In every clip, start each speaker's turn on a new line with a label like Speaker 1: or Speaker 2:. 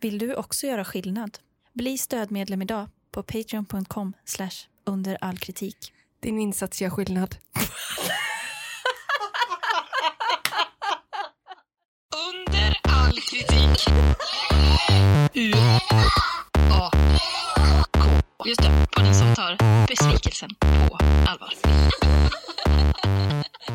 Speaker 1: Vill du också göra skillnad? Bli stödmedlem idag på patreon.com under all kritik.
Speaker 2: Din insats gör skillnad.
Speaker 3: Under all kritik. U A K. Just det, podden som tar besvikelsen på allvar.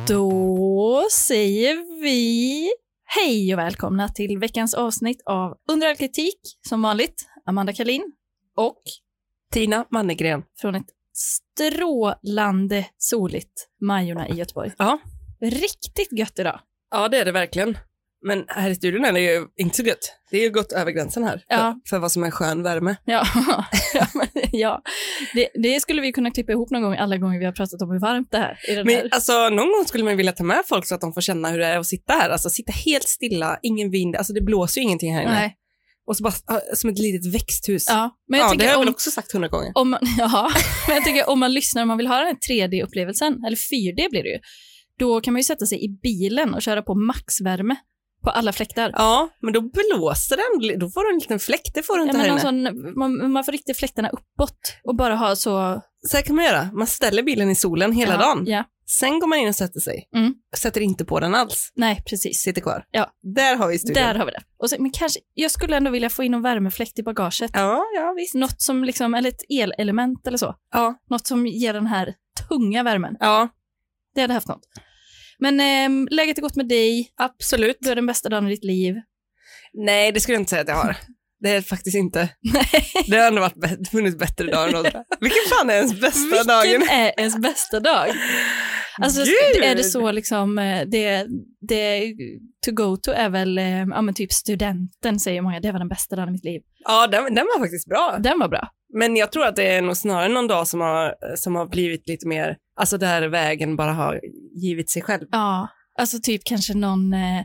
Speaker 1: Då säger vi hej och välkomna till veckans avsnitt av Under all kritik. Som vanligt, Amanda Kalin och
Speaker 2: Tina Mannegren.
Speaker 1: från ett strålande soligt Majorna i Göteborg.
Speaker 2: Ja.
Speaker 1: Riktigt gött idag.
Speaker 2: Ja, det är det verkligen. Men här i studion är det ju inte så gött. Det är ju gått över gränsen här
Speaker 1: Ja.
Speaker 2: för, för vad som är skön värme.
Speaker 1: Ja, ja, men, ja. Det, det skulle vi kunna klippa ihop någon gång, alla gånger vi har pratat om hur varmt det här i den här.
Speaker 2: Men alltså, någon gång skulle man vilja ta med folk så att de får känna hur det är att sitta här. Alltså sitta helt stilla, ingen vind, alltså det blåser ju ingenting här inne.
Speaker 1: Nej.
Speaker 2: Och så bara ah, som ett litet växthus.
Speaker 1: Ja, men jag
Speaker 2: ja det har
Speaker 1: tänker
Speaker 2: jag
Speaker 1: om,
Speaker 2: väl också sagt hundra gånger.
Speaker 1: om, man, ja, men jag tänker om man lyssnar och man vill ha den här 3D-upplevelsen, eller 4D blir det ju, då kan man ju sätta sig i bilen och köra på maxvärme på alla fläktar.
Speaker 2: Ja, men då blåser den, då får du en liten fläkt, det får du
Speaker 1: Ja,
Speaker 2: inte här
Speaker 1: men alltså- någon
Speaker 2: inne.
Speaker 1: sån, man, man får rikta fläktarna uppåt och bara ha så...
Speaker 2: Så här kan man göra, man ställer bilen i solen hela
Speaker 1: ja,
Speaker 2: dagen.
Speaker 1: Ja,
Speaker 2: Sen går man in och sätter sig.
Speaker 1: Mm.
Speaker 2: Sätter inte på den alls.
Speaker 1: nej precis.
Speaker 2: Sitter kvar.
Speaker 1: Ja.
Speaker 2: Där har vi studion.
Speaker 1: Där har vi det. Och sen, men kanske, jag skulle ändå vilja få in en värmefläkt i bagaget.
Speaker 2: Ja, ja, visst.
Speaker 1: Något som liksom, eller ett elelement eller så.
Speaker 2: Ja.
Speaker 1: Något som ger den här tunga värmen.
Speaker 2: Ja,
Speaker 1: Det hade haft något. Men ehm, läget är gott med dig.
Speaker 2: absolut.
Speaker 1: Du har den bästa dagen i ditt liv.
Speaker 2: Nej, det skulle jag inte säga att jag har. Det är faktiskt inte. Det har ändå varit bä- funnits bättre dagar än andra. Vilken fan är ens bästa
Speaker 1: Vilken
Speaker 2: dagen?
Speaker 1: är ens bästa dag? Alltså,
Speaker 2: Gud!
Speaker 1: är det så liksom, eh, det, det to go to är väl, eh, ja men typ studenten säger många, det var den bästa dagen i mitt liv.
Speaker 2: Ja, den, den var faktiskt bra.
Speaker 1: Den var bra.
Speaker 2: Men jag tror att det är nog snarare någon dag som har, som har blivit lite mer, alltså där vägen bara har givit sig själv.
Speaker 1: Ja, alltså typ kanske någon, eh,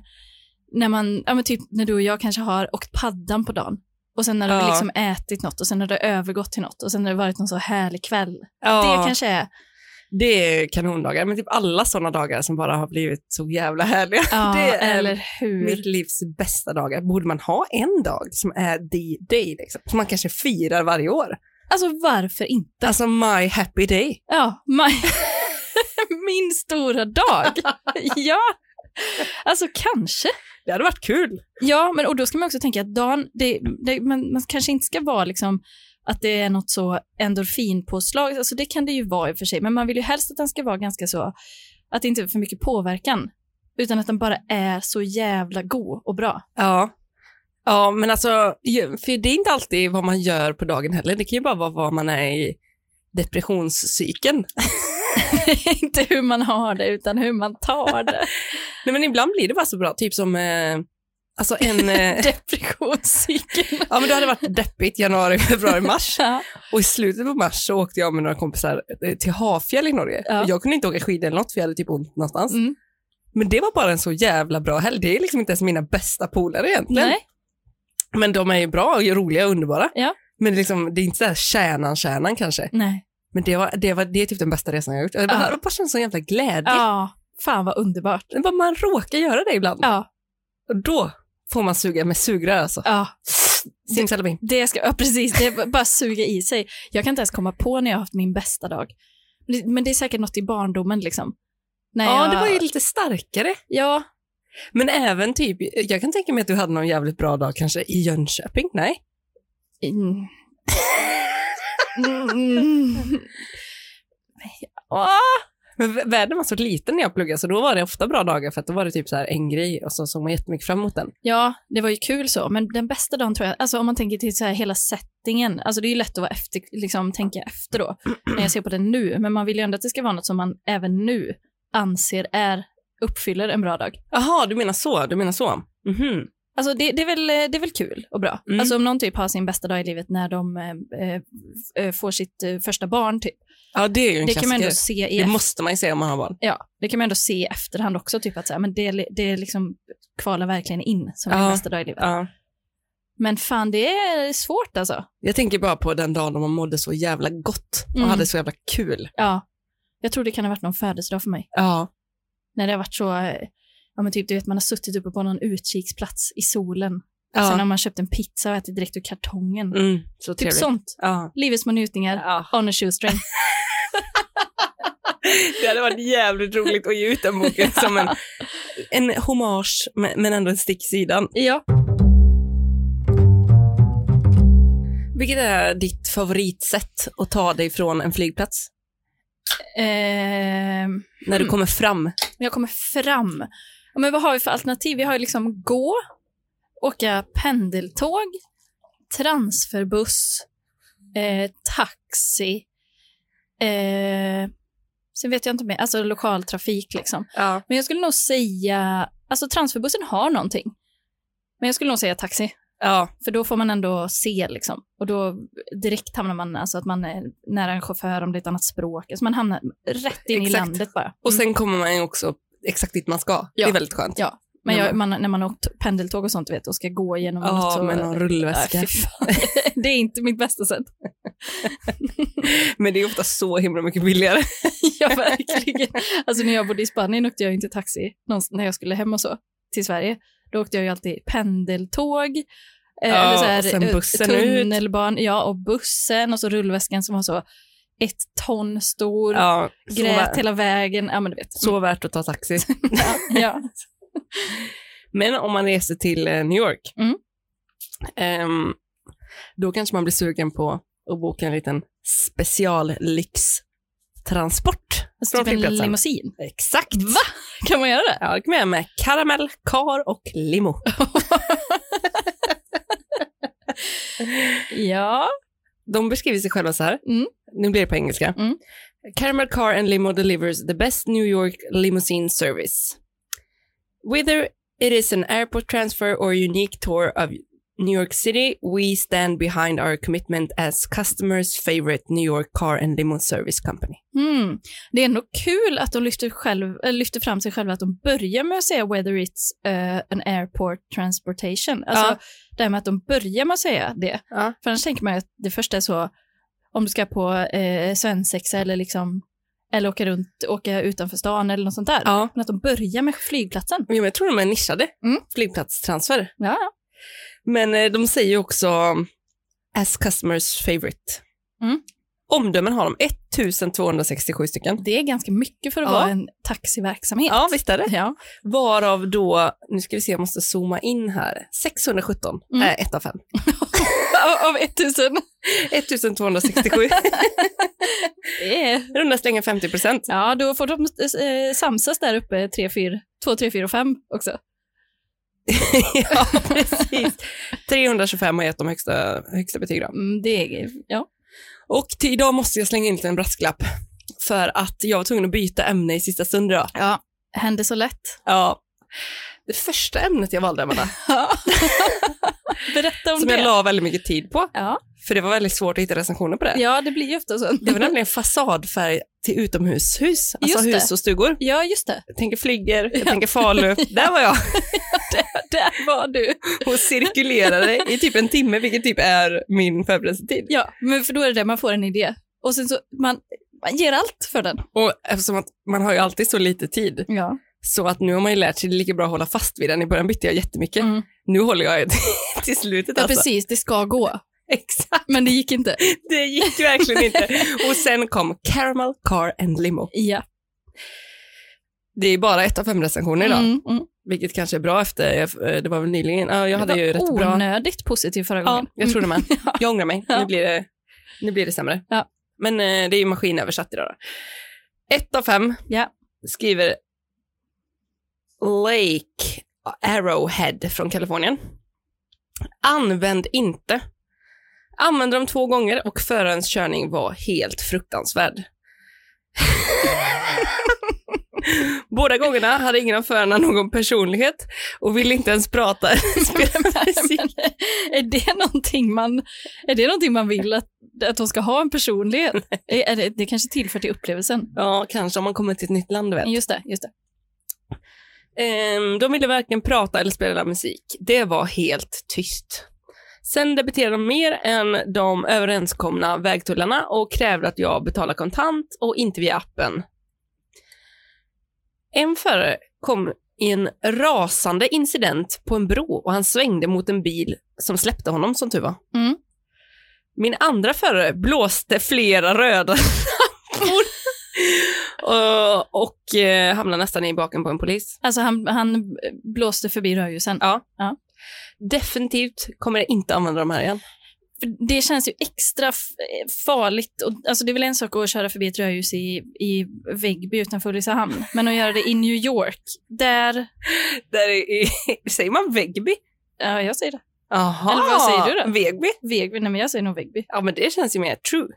Speaker 1: när man, ja men typ när du och jag kanske har åkt paddan på dagen. Och sen när du
Speaker 2: Ja.
Speaker 1: liksom ätit något och sen när du har övergått till något och sen när det varit någon så härlig kväll.
Speaker 2: Ja,
Speaker 1: Det kanske är,
Speaker 2: det är kanondagar, men typ alla sådana dagar som bara har blivit så jävla härliga.
Speaker 1: ja,
Speaker 2: det är
Speaker 1: eller hur.
Speaker 2: Mitt livs bästa dagar. Borde man ha en dag som är the day, liksom? som man kanske firar varje år?
Speaker 1: Alltså varför inte?
Speaker 2: Alltså my happy day.
Speaker 1: Ja, my, min stora dag. ja, alltså kanske.
Speaker 2: Det hade varit kul.
Speaker 1: Ja, men och då ska man också tänka att dagen, det, det, man, man kanske inte ska vara liksom att det är något så endorfinpåslag, alltså det kan det ju vara i och för sig, men man vill ju helst att den ska vara ganska så, att det inte är för mycket påverkan, utan att den bara är så jävla god och bra.
Speaker 2: Ja. Ja, men alltså, ju- för det är inte alltid vad man gör på dagen heller. Det kan ju bara vara vad man är i depressionscykeln.
Speaker 1: inte hur man har det, utan hur man tar det.
Speaker 2: Nej, men ibland blir det bara så bra, typ som eh, alltså en... Eh,
Speaker 1: Depressionscykeln.
Speaker 2: ja, men det hade varit deppigt januari, februari, mars.
Speaker 1: Ja.
Speaker 2: Och i slutet på mars så åkte jag med några kompisar eh, till Hafjäll i Norge.
Speaker 1: Ja.
Speaker 2: Och Jag kunde inte åka skidor eller något, för jag hade typ ont någonstans.
Speaker 1: Mm.
Speaker 2: Men det var bara en så jävla bra helg. Det är liksom inte ens mina bästa polare egentligen.
Speaker 1: Nej.
Speaker 2: Men de är ju bra, och roliga och underbara.
Speaker 1: Ja.
Speaker 2: Men liksom, det är inte så här kärnan-kärnan kanske.
Speaker 1: Nej.
Speaker 2: Men det, var, det, var, det är typ den bästa resan jag har gjort. Jag bara,
Speaker 1: Ja.
Speaker 2: uh. bara känner sån jävla glädje.
Speaker 1: Ja, fan vad underbart.
Speaker 2: Det är bara Man råkar göra det ibland.
Speaker 1: Ja,
Speaker 2: Och då får man suga med sugrör alltså.
Speaker 1: ja.
Speaker 2: Simsalabim.
Speaker 1: Det ska, ja, precis, det är bara suga i sig. Jag kan inte ens komma på när jag har haft min bästa dag. Men det- Men det är säkert något i barndomen liksom. När
Speaker 2: Ja,
Speaker 1: jag,
Speaker 2: det var ju lite starkare.
Speaker 1: Ja,
Speaker 2: Men även typ, jag kan tänka mig att du hade någon jävligt bra dag kanske i Jönköping. Nej?
Speaker 1: Mm. Mm. Ja.
Speaker 2: Men vä- världen var så liten när jag pluggade, så då var det ofta bra dagar för att då var det typ så här en grej och så såg man jättemycket fram emot den.
Speaker 1: Ja, det var ju kul så, men den bästa dagen tror jag, alltså om man tänker till så här hela settingen, alltså det är ju lätt att vara efter, liksom, tänka efter då, när jag ser på den nu, men man vill ju ändå att det ska vara något som man även nu anser är, uppfyller en bra dag.
Speaker 2: Jaha, du menar så, du menar så. Mhm.
Speaker 1: Alltså det, det, är väl, det är väl kul och bra.
Speaker 2: Mm.
Speaker 1: Alltså om någon typ har sin bästa dag i livet när de eh, eh, f- eh, får sitt eh, första barn, typ.
Speaker 2: Ja, det är ju en
Speaker 1: det kan man
Speaker 2: klassiker.
Speaker 1: ändå se i
Speaker 2: det måste man ju säga om man har barn.
Speaker 1: Ja, det kan man ändå se i efterhand också, typ att så här, men det, det är liksom kvalar verkligen in som
Speaker 2: Ja.
Speaker 1: min bästa dag i livet.
Speaker 2: Ja.
Speaker 1: Men fan, det är svårt alltså.
Speaker 2: Jag tänker bara på den dagen då man mådde så jävla gott och
Speaker 1: Mm.
Speaker 2: hade så jävla kul.
Speaker 1: Ja. Jag tror det kan ha varit någon födelsedag för mig.
Speaker 2: Ja.
Speaker 1: När det har varit så, eh, ja men typ du vet man har suttit uppe på någon utkiksplats i solen
Speaker 2: Ja.
Speaker 1: Sen har man köpt en pizza och ätit direkt ur kartongen.
Speaker 2: Mm, så
Speaker 1: Typ
Speaker 2: trevligt.
Speaker 1: sånt.
Speaker 2: Ja.
Speaker 1: Livets små njutningar.
Speaker 2: Ja.
Speaker 1: On a shoestring.
Speaker 2: Det hade varit jävligt roligt att ge ut den boken som en, en hommage, men men ändå en stick i sidan.
Speaker 1: ja.
Speaker 2: Vilket är ditt favoritsätt att ta dig från en flygplats?
Speaker 1: Ehm,
Speaker 2: När du kommer fram?
Speaker 1: jag kommer fram. Ja, Men vad har vi för alternativ? Vi har ju liksom gå, åka pendeltåg, transferbuss, eh, taxi. Eh, sen vet jag inte mer, alltså lokaltrafik liksom.
Speaker 2: Ja.
Speaker 1: Men jag skulle nog säga, alltså transferbussen har någonting. Men jag skulle nog säga taxi,
Speaker 2: Ja,
Speaker 1: för då får man ändå se liksom. Och då direkt hamnar man, alltså att man är nära en chaufför om det är ett annat språk. Alltså man hamnar rätt in i
Speaker 2: Exakt.
Speaker 1: landet bara.
Speaker 2: och sen kommer man ju också exakt dit man ska. Det
Speaker 1: Mm. Ja.
Speaker 2: är väldigt skönt.
Speaker 1: Ja, men
Speaker 2: När
Speaker 1: jag, man, när man har åkt pendeltåg och sånt vet, och ska gå genom något
Speaker 2: Ja,
Speaker 1: så...
Speaker 2: med någon rullväska.
Speaker 1: Nej, fy fan. det är inte mitt bästa sätt.
Speaker 2: Men det är ofta så himla mycket billigare.
Speaker 1: ja, verkligen. Alltså när jag bodde i Spanien åkte jag ju inte taxi någonstans- när jag skulle hem och så till Sverige. Då åkte jag ju alltid pendeltåg. eh,
Speaker 2: Ja, och sen
Speaker 1: eh,
Speaker 2: bussen ut.
Speaker 1: tunnelban, ja, och bussen och så rullväskan som var så ett ton stor,
Speaker 2: Ja, så,
Speaker 1: grät
Speaker 2: värt,
Speaker 1: hela vägen. Ja, men du vet.
Speaker 2: så värt att ta taxi.
Speaker 1: Ja.
Speaker 2: Men om man reser till eh, New York,
Speaker 1: Mm.
Speaker 2: ehm, då kanske man blir sugen på att boka en liten speciallyxtransport
Speaker 1: Typ en
Speaker 2: flygplatsen.
Speaker 1: limousin.
Speaker 2: Exakt.
Speaker 1: Va? Kan man göra det?
Speaker 2: Ja, det kan man göra med karamell, kar och limo.
Speaker 1: Ja.
Speaker 2: De beskriver sig själva så här.
Speaker 1: Mm.
Speaker 2: Nu blir det på engelska.
Speaker 1: Mm.
Speaker 2: Caramel Car and Limo delivers the best New York limousine service. Whether it is an airport transfer or unique tour of New York City, we stand behind our commitment as customers' favorite New York car and limo service company.
Speaker 1: Mm. Det är ändå kul att de lyfter, själv, eller lyfter fram sig själva, att de börjar med att säga whether it's eh, an airport transportation. Alltså
Speaker 2: Ja.
Speaker 1: det här med att de börjar med att säga det.
Speaker 2: Ja.
Speaker 1: För annars tänker man ju att det första är så, om du ska på eh, svensexa eller liksom, eller åka runt, åka utanför stan eller något sånt där.
Speaker 2: Ja.
Speaker 1: Men att de börjar med flygplatsen.
Speaker 2: Jo, men jag tror de är nischade.
Speaker 1: Mm.
Speaker 2: Flygplatstransfer.
Speaker 1: Ja,
Speaker 2: Men eh, de säger ju också um, as customers favorite.
Speaker 1: Mm.
Speaker 2: Omdömen har de 1267 stycken.
Speaker 1: det är ganska mycket för att
Speaker 2: Ja.
Speaker 1: vara en taxiverksamhet.
Speaker 2: Ja, visst är det.
Speaker 1: Ja.
Speaker 2: Varav då, nu ska vi se, jag måste zooma in här, 617
Speaker 1: Mm.
Speaker 2: är ett av fem.
Speaker 1: Av- Av 1000.
Speaker 2: 1267,
Speaker 1: Det är-
Speaker 2: runda slänga 50 procent.
Speaker 1: Ja, då får de eh, samsas där uppe 3, 4, 2, 3, 4 och 5 också.
Speaker 2: ja, precis. 325 har gett de högsta, högsta betyg då.
Speaker 1: Mm, det är, ja.
Speaker 2: Och till idag måste jag slänga in en liten brasklapp för att jag var tvungen att byta ämne i sista stund idag.
Speaker 1: ja. Händer så lätt.
Speaker 2: Ja. Det första ämnet jag valde, Amanda,
Speaker 1: Berätta om
Speaker 2: som
Speaker 1: det.
Speaker 2: jag la väldigt mycket tid på,
Speaker 1: ja.
Speaker 2: för det var väldigt svårt att hitta recensioner på det.
Speaker 1: ja, det blir ju ofta så.
Speaker 2: Det var nämligen fasadfärg till utomhushus, alltså
Speaker 1: Just det.
Speaker 2: hus och stugor.
Speaker 1: Ja, just det.
Speaker 2: Jag tänker Flygger, jag tänker Falu. Där var jag
Speaker 1: Där var du.
Speaker 2: och cirkulerade i typ en timme, vilket typ är min förberedelsetid.
Speaker 1: Ja, men för då är det det, man får en idé. Och sen så, man, man ger allt för den.
Speaker 2: Och eftersom att man har ju alltid så lite tid,
Speaker 1: Ja.
Speaker 2: så att nu har man ju lärt sig det är lika bra att hålla fast vid den. I början bytte jag jättemycket.
Speaker 1: Mm.
Speaker 2: Nu håller jag till slutet
Speaker 1: ja,
Speaker 2: alltså.
Speaker 1: precis. Det ska gå.
Speaker 2: Exakt,
Speaker 1: Men det gick inte.
Speaker 2: det gick verkligen inte. Och sen kom Caramel Car and Limo.
Speaker 1: Ja.
Speaker 2: Det är bara ett av fem recensioner idag,
Speaker 1: Mm, mm.
Speaker 2: vilket kanske är bra efter, eh, det var väl nyligen, ja, jag hade
Speaker 1: det
Speaker 2: ju
Speaker 1: var
Speaker 2: rätt bra
Speaker 1: onödigt positiv förra
Speaker 2: Ja,
Speaker 1: gången. Mm.
Speaker 2: jag tror det med. Jag ångrar mig.
Speaker 1: Ja.
Speaker 2: Nu blir det, nu blir det sämre.
Speaker 1: Ja.
Speaker 2: Men eh, det är ju maskinöversatt idag. Då. Ett av fem
Speaker 1: Ja.
Speaker 2: skriver Lake Arrowhead från Kalifornien. Använd inte. Använde dem två gånger och förarens körning var helt fruktansvärd. Båda gångerna hade ingen av förarna någon personlighet och ville inte ens prata eller spela musik.
Speaker 1: Men, är, det någonting man, är det någonting man vill att, att de ska ha en personlighet? Är, är det, det kanske tillför till upplevelsen.
Speaker 2: Ja, kanske om man kommer till ett nytt land, du vet.
Speaker 1: Just det, just det.
Speaker 2: Ehm, de ville varken prata eller spela musik. Det var helt tyst. Sen debiterade de mer än de överenskomna vägtullarna och krävde att jag betalar kontant och inte via appen. En förare kom i en rasande incident på en bro och han svängde mot en bil som släppte honom som tur var.
Speaker 1: Mm.
Speaker 2: Min andra förare blåste flera röda lampor och, och eh, hamnade nästan i baken på en polis.
Speaker 1: Alltså han, han blåste förbi rödljusen.
Speaker 2: Ja. Definitivt kommer jag inte använda de här igen.
Speaker 1: För det känns ju extra f- farligt. Och, alltså det är väl en sak att köra förbi ett rödljus i, i Väggby utanför Ulricehamn, men att göra det i New York, där...
Speaker 2: Där är, säger man Vegby?
Speaker 1: Ja, jag säger det.
Speaker 2: Jaha,
Speaker 1: Eller vad säger du då?
Speaker 2: Vegby?
Speaker 1: Vägby, nej men jag säger nog Väggby.
Speaker 2: Ja, men det känns ju mer true.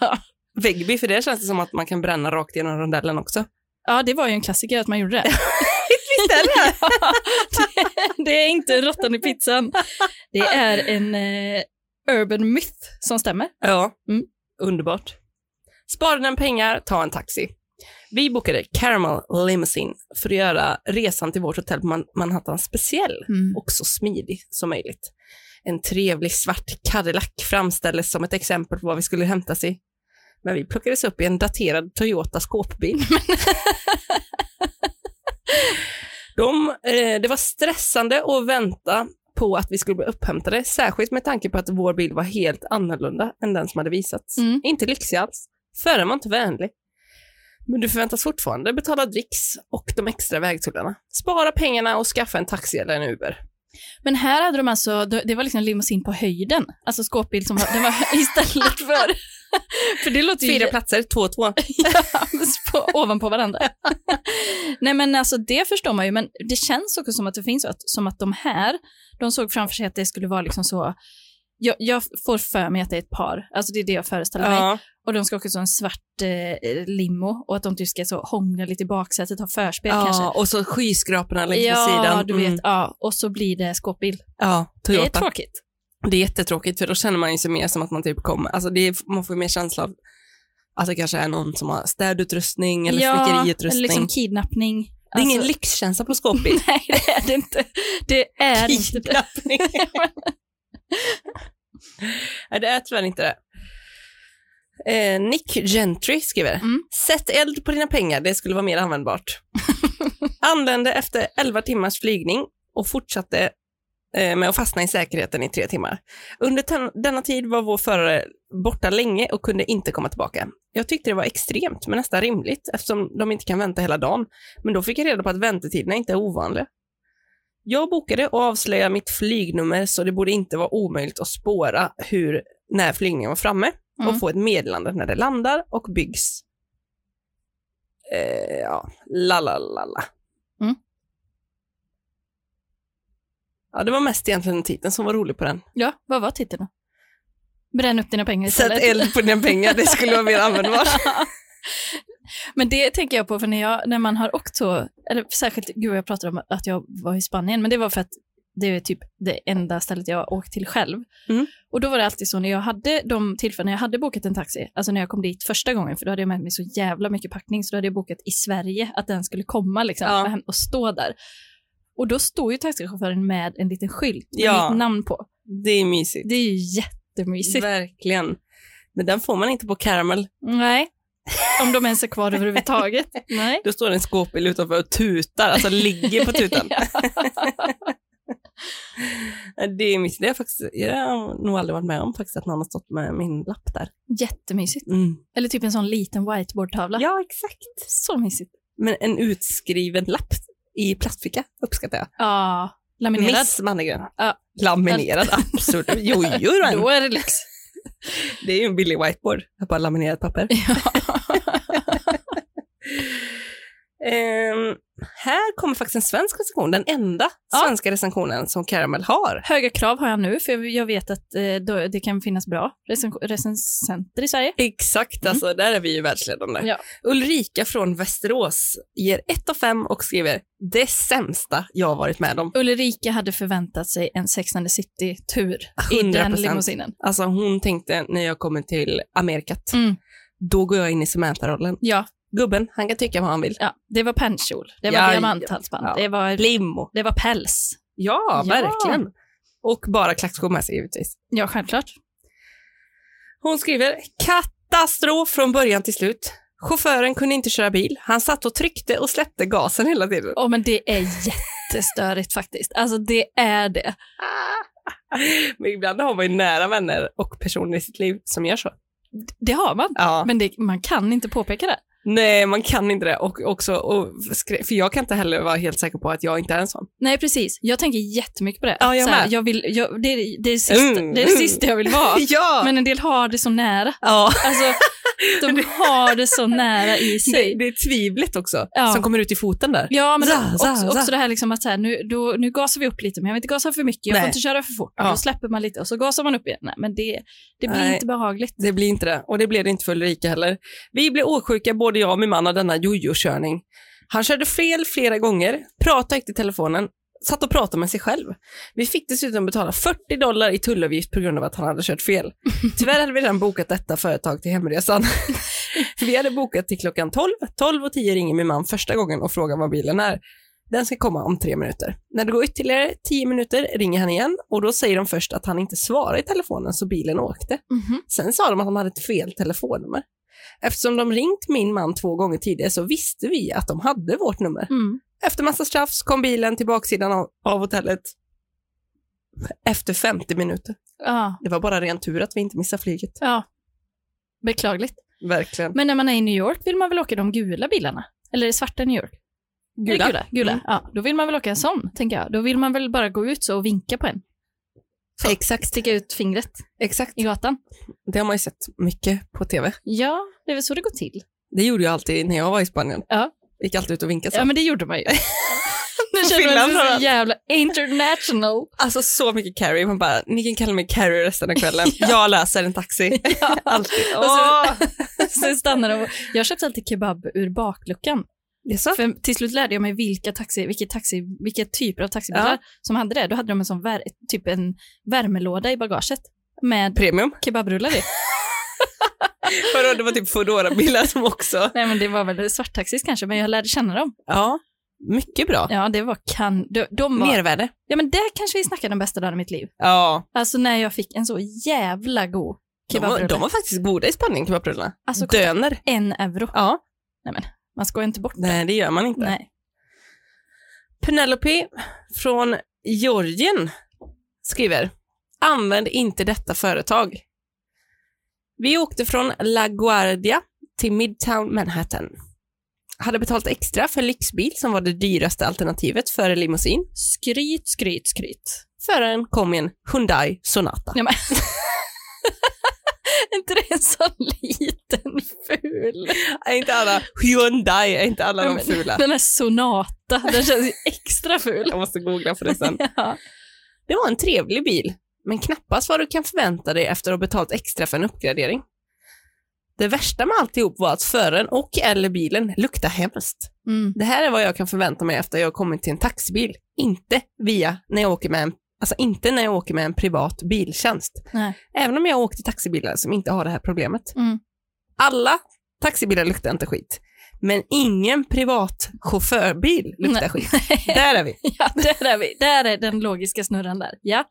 Speaker 1: Ja.
Speaker 2: Vegby, för det känns det som att man kan bränna rakt genom rondellen också.
Speaker 1: ja, det var ju en klassiker att man gjorde det.
Speaker 2: Visst är det?
Speaker 1: Ja, det, det är inte råttan i pizzan. Det är en eh, urban myth som stämmer.
Speaker 2: Ja,
Speaker 1: Mm.
Speaker 2: underbart. Spara dina pengar, ta en taxi. Vi bokade Caramel Limousine för att göra resan till vårt hotell på Man- Manhattan speciell
Speaker 1: Mm.
Speaker 2: och så smidig som möjligt. En trevlig svart Cadillac framställdes som ett exempel på vad vi skulle hämtas i. Men vi plockades upp i en daterad Toyota skåpbil. De, eh, det var stressande att vänta på att vi skulle bli upphämtade, särskilt med tanke på att vår bil var helt annorlunda än den som hade visats.
Speaker 1: Mm.
Speaker 2: Inte lyxig alls. Föraren var inte vänlig. Men du förväntas fortfarande betala dricks och de extra vägtullarna. Spara pengarna och skaffa en taxi eller en Uber.
Speaker 1: Men här hade de alltså, det var liksom limousin på höjden, alltså skåpbil som var, den var istället för... För det låter ju...
Speaker 2: Fyra platser, två och två.
Speaker 1: Ja, på, ovanpå varandra. Nej men alltså det förstår man ju, men det känns också som att det finns, att, som att de här, de såg framför sig att det skulle vara liksom så, jag, jag får för mig att det är ett par, alltså det är det jag föreställer mig.
Speaker 2: Ja.
Speaker 1: Och de ska åka i en svart eh, limo och att de typ ska så hångla lite i baksätet, ha förspel kanske.
Speaker 2: ja, och så skyskraporna längs med
Speaker 1: ja,
Speaker 2: sidan.
Speaker 1: du vet.
Speaker 2: Mm.
Speaker 1: Ja, och så blir det skåpbil.
Speaker 2: Ja,
Speaker 1: Det är
Speaker 2: Toyota.
Speaker 1: tråkigt.
Speaker 2: Det är jättetråkigt för då känner man ju sig mer som att man typ kommer, alltså det är, man får ju mer känsla av att det kanske är någon som har städutrustning eller snickeriutrustning.
Speaker 1: eller liksom kidnappning.
Speaker 2: det är ingen
Speaker 1: Alltså,
Speaker 2: lyxkänsla på skåpbil.
Speaker 1: Nej, det är det inte. Det är inte det.
Speaker 2: Kidnappning. Nej, det är tyvärr inte det. Eh, Nick Gentry skriver,
Speaker 1: Mm.
Speaker 2: sätt eld på dina pengar, det skulle vara mer användbart. Anlände efter 11 timmars flygning och fortsatte eh, med att fastna i säkerheten i tre timmar. Under ten- denna tid var vår förare borta länge och kunde inte komma tillbaka. Jag tyckte det var extremt, men nästan rimligt, eftersom de inte kan vänta hela dagen. Men då fick jag reda på att väntetiderna inte är ovanliga. Jag bokade och avslöjade mitt flygnummer, så det borde inte vara omöjligt att spåra hur, när flygningen var framme
Speaker 1: Mm.
Speaker 2: och få ett meddelande när det landar och byggs. Eh, ja, la la la la.
Speaker 1: Mm.
Speaker 2: Ja, det var mest egentligen titeln som var rolig på den.
Speaker 1: Ja, vad var titeln då? Bränn upp dina pengar
Speaker 2: Sätt
Speaker 1: istället.
Speaker 2: eld på dina pengar, det skulle vara mer användbart.
Speaker 1: Men det tänker jag på, för när, jag, när man har åkt så, eller särskilt, gud jag pratade om att jag var i Spanien, men det var för att det är typ det enda stället jag har åkt till själv.
Speaker 2: Mm.
Speaker 1: Och då var det alltid så när jag hade de tillfällen när jag hade bokat en taxi, alltså när jag kom dit första gången, för då hade jag med mig så jävla mycket packning, så då hade jag bokat i Sverige att den skulle komma liksom,
Speaker 2: Ja.
Speaker 1: och hem och stå där. Och då står ju taxichauffören med en liten skylt med
Speaker 2: Ja.
Speaker 1: mitt namn på.
Speaker 2: Det är mysigt.
Speaker 1: Det är ju jättemysigt.
Speaker 2: Verkligen. Men den får man inte på Caramel.
Speaker 1: Nej. Om de ens är kvar överhuvudtaget. Nej.
Speaker 2: Då står det en skåpbil utanför och tutar, alltså ligger på tutan.
Speaker 1: Ja.
Speaker 2: Eh, Det är mysigt. Det har jag, faktiskt, jag har nog aldrig varit med om faktiskt, att någon har stått med min lapp där.
Speaker 1: Jättemysigt. Eller typ en sån liten whiteboardtavla.
Speaker 2: Ja, exakt.
Speaker 1: Så mysigt.
Speaker 2: Men en utskriven lapp i plastficka uppskattar jag.
Speaker 1: Ja, laminerad.
Speaker 2: Miss Mannegren.
Speaker 1: Ja.
Speaker 2: Laminerad, absolut. Jo, jo,
Speaker 1: Då
Speaker 2: då.
Speaker 1: är det lyx.
Speaker 2: det är ju en billig whiteboard. Jag har bara laminerat papper.
Speaker 1: Ja.
Speaker 2: Ehm, här kommer faktiskt en svensk recension, den enda
Speaker 1: Ja.
Speaker 2: svenska recensionen som Caramel har.
Speaker 1: Höga krav har jag nu, för jag- jag vet att eh, då- det kan finnas bra recen- recensenter i Sverige.
Speaker 2: Exakt,
Speaker 1: Mm.
Speaker 2: alltså där är vi ju världsledande.
Speaker 1: Ja.
Speaker 2: Ulrika från Västerås ger 1 av 5 och skriver det sämsta jag har varit med om.
Speaker 1: Ulrika hade förväntat sig en Sex and the City-tur i
Speaker 2: 100%.
Speaker 1: den limousinen.
Speaker 2: Alltså hon tänkte när jag kommer till Amerikat,
Speaker 1: Mm.
Speaker 2: då går jag in i Samantha-rollen.
Speaker 1: Ja,
Speaker 2: Gubben, han kan tycka vad han vill.
Speaker 1: ja, det var pennkjol, det var
Speaker 2: Ja,
Speaker 1: diamanthalsband,
Speaker 2: ja.
Speaker 1: det, var,
Speaker 2: Limo.
Speaker 1: det var päls.
Speaker 2: Ja,
Speaker 1: Ja.
Speaker 2: verkligen. Och bara klackskor med sig givetvis.
Speaker 1: Ja, självklart.
Speaker 2: Hon skriver katastrof från början till slut. Chauffören kunde inte köra bil. Han satt och tryckte och släppte gasen hela tiden.
Speaker 1: Åh, men det är jättestörigt faktiskt. Alltså det är det.
Speaker 2: Men ibland har man ju nära vänner och personer i sitt liv som gör så.
Speaker 1: Det har man,
Speaker 2: Ja.
Speaker 1: men det, man kan inte påpeka det.
Speaker 2: Nej, man kan inte det. Och också, och, skre- för jag kan inte heller vara helt säker på att jag inte är en sån.
Speaker 1: Nej, precis. Jag tänker jättemycket på det.
Speaker 2: Ja, jag
Speaker 1: Så här,
Speaker 2: med.
Speaker 1: jag vill, jag, det, är, det, är det sista,
Speaker 2: Mm,
Speaker 1: det är det
Speaker 2: mm.
Speaker 1: sista jag vill vara.
Speaker 2: Ja!
Speaker 1: Men en del har det så nära.
Speaker 2: ja.
Speaker 1: Alltså, de har det så nära i
Speaker 2: Det,
Speaker 1: sig.
Speaker 2: det är tvivlet också
Speaker 1: Ja.
Speaker 2: som kommer ut i foten där.
Speaker 1: Ja, men
Speaker 2: Za, za,
Speaker 1: också,
Speaker 2: za.
Speaker 1: också det här liksom att så här, nu, då, nu gasar vi upp lite, men jag vill inte gasa för mycket, jag får
Speaker 2: Nej.
Speaker 1: inte köra för fort.
Speaker 2: Ja.
Speaker 1: Då släpper man lite och så gasar man upp igen. Nej, men det, det blir
Speaker 2: Nej.
Speaker 1: inte behagligt.
Speaker 2: Det blir inte det. Och det blev det inte för Ulrika heller. Vi blev åksjuka, både jag och min man, av denna jojo-körning. Han körde fel flera gånger, pratade inte i telefonen, satt och pratade med sig själv. Vi fick dessutom betala 40 dollar i tullavgift på grund av att han hade kört fel. Tyvärr hade vi redan bokat detta företag till hemresan. vi hade bokat till klockan 12. 12 och 10 ringer min man första gången och frågar var bilen är. Den ska komma om tre minuter. När det går ytterligare 10 minuter ringer han igen och då säger de först att han inte svarar i telefonen så bilen åkte.
Speaker 1: Mhm.
Speaker 2: Sen sa de att de hade ett fel telefonnummer. Eftersom de ringt min man två gånger tidigare så visste vi att de hade vårt nummer.
Speaker 1: Mm.
Speaker 2: Efter massa tjafs kom bilen till baksidan av, av hotellet efter 50 minuter.
Speaker 1: Ja,
Speaker 2: Det var bara ren tur att vi inte missade flyget.
Speaker 1: ja. Beklagligt.
Speaker 2: Verkligen.
Speaker 1: Men när man är i New York vill man väl åka de gula bilarna? Eller är det svarta i New York? Är det Gula. gula.
Speaker 2: Mm.
Speaker 1: Ja, då vill man väl åka en sån, tänker jag. Då vill man väl bara gå ut så och vinka på en.
Speaker 2: Exakt.
Speaker 1: Sticka ut fingret
Speaker 2: Exakt.
Speaker 1: i gatan.
Speaker 2: Det har man ju sett mycket på tv.
Speaker 1: Ja, det är väl så det går till.
Speaker 2: Det gjorde jag alltid när jag var i Spanien.
Speaker 1: Ja.
Speaker 2: Gick alltid ut och vinkade så.
Speaker 1: Ja, men det gjorde man ju. nu känner man
Speaker 2: Finland
Speaker 1: sig
Speaker 2: har
Speaker 1: så
Speaker 2: allt.
Speaker 1: jävla international.
Speaker 2: Alltså så mycket Carrie. Man bara, ni kan kalla mig Carrie resten av kvällen. Jag löser en taxi. alltid.
Speaker 1: Och så-
Speaker 2: Åh!
Speaker 1: Sen stannar de och, jag köpte alltid kebab ur bakluckan.
Speaker 2: Det är så.
Speaker 1: För till slut lärde jag mig vilka, taxi, vilka, taxi, vilka typer av taxibilar
Speaker 2: Ja.
Speaker 1: som hade det. Då hade de en sån vär, typ en värmelåda i bagaget med
Speaker 2: Premium.
Speaker 1: kebabrullar i.
Speaker 2: Vadå, det var typ Foodora-bilar som också...
Speaker 1: Nej men det var väl svarttaxis kanske, men jag lärde känna dem.
Speaker 2: Ja, mycket bra.
Speaker 1: Ja, det var kan... De, de var...
Speaker 2: Mervärde.
Speaker 1: Ja men där kanske vi snackar den bästa dagen i mitt liv.
Speaker 2: Ja,
Speaker 1: Alltså när jag fick en så jävla god
Speaker 2: de var,
Speaker 1: kebabrulle.
Speaker 2: de var faktiskt goda i Spanien, kebabrullarna.
Speaker 1: Alltså, kolla.
Speaker 2: Döner.
Speaker 1: En euro.
Speaker 2: Ja,
Speaker 1: Man skojar inte bort det.
Speaker 2: nej det gör man inte.
Speaker 1: Nej.
Speaker 2: Penelope från Georgien skriver, använd inte detta företag. Vi åkte från LaGuardia till Midtown Manhattan. Hade betalt extra för lyxbil som var det dyraste alternativet före limousin.
Speaker 1: Skryt, skryt, skryt.
Speaker 2: Föraren kom i en Hyundai Sonata.
Speaker 1: Ja, men... Är inte det en sån liten ful?
Speaker 2: Är inte alla Hyundai, är inte alla de
Speaker 1: Men-
Speaker 2: fula?
Speaker 1: Den här Sonata, den känns ju extra ful.
Speaker 2: Jag måste googla på det sen.
Speaker 1: Ja.
Speaker 2: Det var en trevlig bil, men knappast vad du kan förvänta dig efter att ha betalat extra för en uppgradering. Det värsta med alltihop var att föraren och eller bilen luktade hemskt.
Speaker 1: Mm.
Speaker 2: Det här är vad jag kan förvänta mig efter jag har kommit till en taxibil. Inte via när jag åker med en, alltså inte när jag åker med en privat biltjänst.
Speaker 1: Nej.
Speaker 2: Även om jag har åkt i taxibilar som inte har det här problemet.
Speaker 1: Mm.
Speaker 2: Alla taxibilar luktar inte skit, men ingen privat chaufförbil luktar
Speaker 1: Nej.
Speaker 2: skit. Där är vi.
Speaker 1: Ja, där är vi. Där är den logiska snurran där. Ja.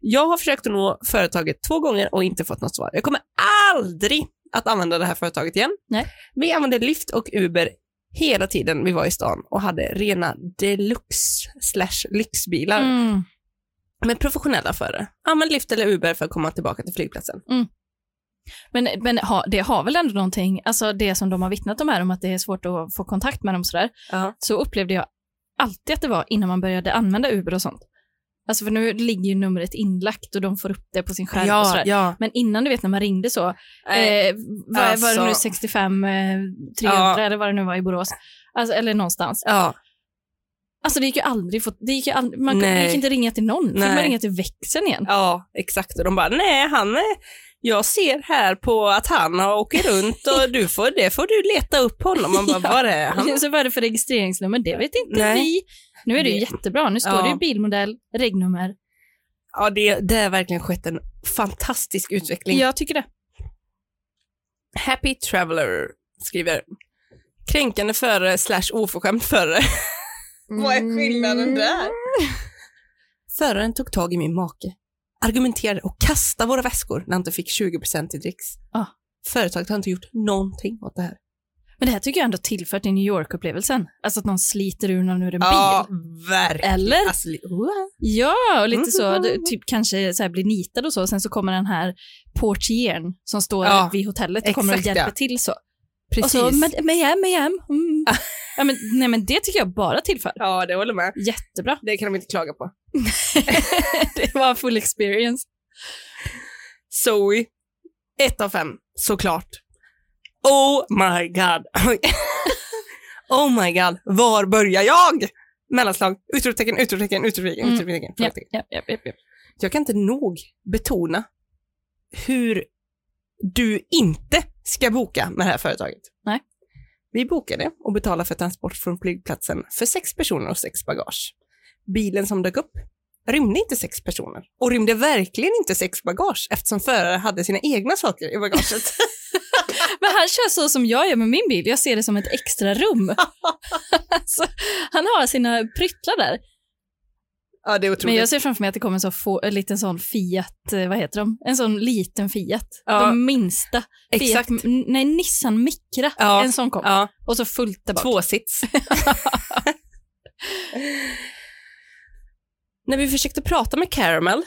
Speaker 2: Jag har försökt att nå företaget två gånger och inte fått något svar. Jag kommer aldrig att använda det här företaget igen.
Speaker 1: Nej.
Speaker 2: Vi använde Lyft och Uber hela tiden vi var i stan och hade rena deluxe slash lyxbilar
Speaker 1: Mm.
Speaker 2: med professionella förare. Använd Lyft eller Uber för att komma tillbaka till flygplatsen.
Speaker 1: Men, men ha, det har väl ändå någonting, alltså det som de har vittnat om här om att det är svårt att få kontakt med dem sådär,
Speaker 2: Ja.
Speaker 1: så upplevde jag alltid att det var innan man började använda Uber och sånt. Alltså för nu ligger ju numret inlagt och de får upp det på sin skärm och sådär.
Speaker 2: ja.
Speaker 1: Men innan du vet när man ringde så,
Speaker 2: Eh,
Speaker 1: Eh, vad var det nu,
Speaker 2: alltså.
Speaker 1: 65, eh, 300
Speaker 2: Ja.
Speaker 1: eller vad det nu var i Borås. Alltså, eller någonstans.
Speaker 2: ja.
Speaker 1: Alltså det gick ju aldrig, få, det gick ju aldrig man kunde,
Speaker 2: Nej.
Speaker 1: det gick inte ringa till någon, fick
Speaker 2: Nej.
Speaker 1: man ringa till växeln igen.
Speaker 2: Ja, exakt. Och de bara, nej, han är... Jag ser här på att han har- åker runt och du får, det får du leta upp honom. Man bara,
Speaker 1: Ja.
Speaker 2: var är han?
Speaker 1: Så vad är det för registreringsnummer? Det vet inte
Speaker 2: Nej.
Speaker 1: vi. Nu är det ju
Speaker 2: Det-
Speaker 1: jättebra, nu står
Speaker 2: Ja.
Speaker 1: det ju bilmodell, regnummer.
Speaker 2: Ja, det, det har verkligen skett en fantastisk utveckling.
Speaker 1: Jag tycker det.
Speaker 2: Happy Traveler skriver kränkande förare slash oförskämd förare.
Speaker 1: Mm.
Speaker 2: Mm. Vad är skillnaden där? Föraren tog tag i min make, argumenterade och kastade våra väskor när han inte fick 20% i dricks.
Speaker 1: Ah.
Speaker 2: Företaget har inte gjort någonting åt det här.
Speaker 1: Men det här tycker jag ändå tillfört i New York-upplevelsen. Alltså att någon sliter ur någon ur en bil.
Speaker 2: verkligen.
Speaker 1: Eller?
Speaker 2: Alltså, what?
Speaker 1: Ja, och lite
Speaker 2: Mm.
Speaker 1: så, du, typ kanske så här blir nitad och så, sen så kommer den här portieren som står
Speaker 2: Ja,
Speaker 1: vid hotellet och kommer och
Speaker 2: exakt,
Speaker 1: hjälper
Speaker 2: ja.
Speaker 1: till så.
Speaker 2: Precis.
Speaker 1: Och så, med, med hem, med hem. Mm. ja, men, nej, men det tycker jag bara tillför.
Speaker 2: Ja, det håller med.
Speaker 1: Jättebra.
Speaker 2: Det kan de inte klaga på.
Speaker 1: det var full experience.
Speaker 2: Zoe, ett av fem, såklart. Oh my god. Oj. oh my god, var börjar jag? Mellanslag, utropstecken, utropstecken, utropstecken,
Speaker 1: Mm.
Speaker 2: utropstecken.
Speaker 1: Ja,
Speaker 2: frågetecken.
Speaker 1: ja, ja, ja, ja.
Speaker 2: Jag kan inte nog betona hur du inte ska boka med det här företaget.
Speaker 1: Nej.
Speaker 2: Vi bokade och betalade för transport från flygplatsen för sex personer och sex bagage. Bilen som dök upp rymde inte sex personer och rymde verkligen inte sex bagage eftersom föraren hade sina egna saker i bagaget.
Speaker 1: Men han kör så som jag gör med min bil. Jag ser det som ett extra rum. alltså, han har sina pryttlar där.
Speaker 2: ja, det är
Speaker 1: Men
Speaker 2: otroligt.
Speaker 1: jag ser framför mig att det kommer en sån, få, en liten sån Fiat, eh, vad heter de? En sån liten Fiat.
Speaker 2: Ja.
Speaker 1: De minsta.
Speaker 2: Exakt.
Speaker 1: Fiat, m- nej, Nissan Micra.
Speaker 2: Ja.
Speaker 1: En sån kom.
Speaker 2: Ja,
Speaker 1: Och så fullt där bak.
Speaker 2: tvåsits. När vi försökte prata med Caramel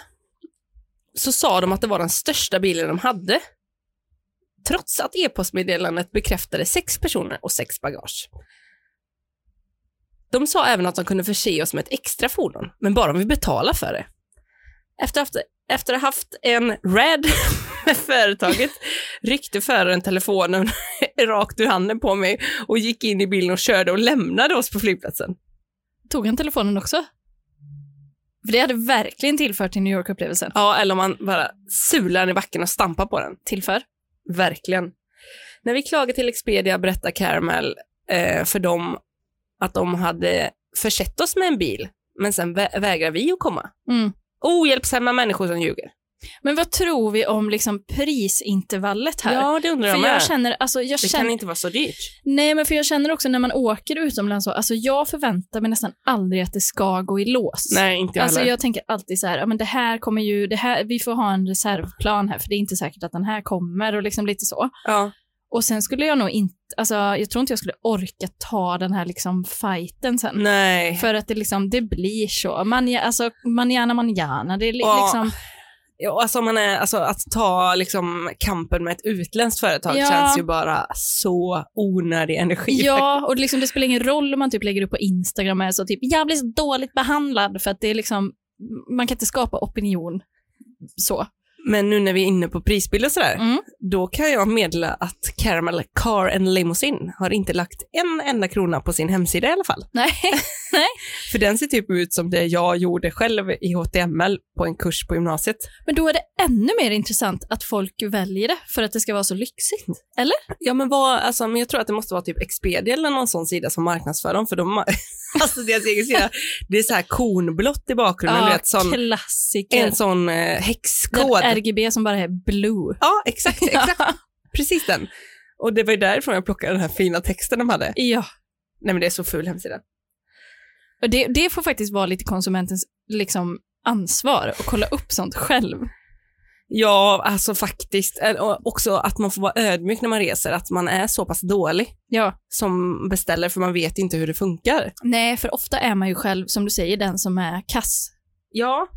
Speaker 2: så sa de att det var den största bilen de hade. Trots att e-postmeddelandet bekräftade sex personer och sex bagage. De sa även att de kunde förse oss med ett extra fordon, men bara om vi betalar för det. Efter att, efter att ha haft en rad med företaget ryckte föraren telefonen rakt ur handen på mig och gick in i bilen och körde och lämnade oss på flygplatsen.
Speaker 1: Tog han telefonen också? För det hade verkligen tillfört till New York-upplevelsen.
Speaker 2: Ja, eller om man bara sular i backen och stampar på den.
Speaker 1: Tillför.
Speaker 2: Verkligen. När vi klagade till Expedia berättade Caramel eh, för dem att de hade försett oss med en bil, men sen vä- vägrar vi att komma.
Speaker 1: Mm.
Speaker 2: Ohjälpsamma människor som ljuger.
Speaker 1: Men vad tror vi om liksom prisintervallet här?
Speaker 2: Ja, det undrar
Speaker 1: för
Speaker 2: jag med.
Speaker 1: jag känner, alltså, jag
Speaker 2: det
Speaker 1: känner
Speaker 2: kan inte vara så dyrt.
Speaker 1: Nej, men för jag känner också när man åker utomlands, så, alltså jag förväntar mig nästan aldrig att det ska gå i lås.
Speaker 2: Nej, inte jag
Speaker 1: Alltså
Speaker 2: heller.
Speaker 1: jag tänker alltid så här, ja, men det här kommer ju, det här, vi får ha en reservplan här för det är inte säkert att den här kommer och liksom lite så.
Speaker 2: Ja.
Speaker 1: Och sen skulle jag nog inte, alltså jag tror inte jag skulle orka ta den här liksom fighten sen.
Speaker 2: Nej.
Speaker 1: För att det liksom, det blir så. Man, alltså manjana manjana, det är li-
Speaker 2: Ja.
Speaker 1: liksom,
Speaker 2: Ja, alltså, man är, alltså att ta liksom, kampen med ett utländskt företag
Speaker 1: Ja.
Speaker 2: känns ju bara så onödig energi.
Speaker 1: ja, och liksom det spelar ingen roll om man typ lägger upp på Instagram och är så typ, jag blir så dåligt behandlad för att det är liksom, man kan inte skapa opinion så.
Speaker 2: Men nu när vi är inne på prisbilder och sådär,
Speaker 1: Mm.
Speaker 2: då kan jag meddela att Caramel Car and Limousine har inte lagt en enda krona på sin hemsida i alla fall.
Speaker 1: Nej,
Speaker 2: För den ser typ ut som det jag gjorde själv i HTML på en kurs på gymnasiet.
Speaker 1: men då är det ännu mer intressant att folk väljer det för att det ska vara så lyxigt.
Speaker 2: Ja men vad, alltså men jag tror att det måste vara typ Expedia eller någon sån sida som marknadsför dem, för de, alltså deras egen sida, det är så här kornblått i bakgrunden, du vet, sån,
Speaker 1: klassiker.
Speaker 2: en sån eh, häxkod.
Speaker 1: Den RGB som bara är blue.
Speaker 2: Ja, exakt, exakt, precis den. Och det var ju därifrån jag plockade den här fina texten de hade.
Speaker 1: ja.
Speaker 2: Nej men det är så ful hemsida.
Speaker 1: Och det, det får faktiskt vara lite konsumentens liksom, ansvar att kolla upp sånt själv.
Speaker 2: Ja, alltså faktiskt. Eh, och Också att man får vara ödmjuk när man reser, att man är så pass dålig
Speaker 1: Ja.
Speaker 2: som beställer för man vet inte hur det funkar.
Speaker 1: Nej, för ofta är man ju själv, som du säger, den som är kass.
Speaker 2: Ja,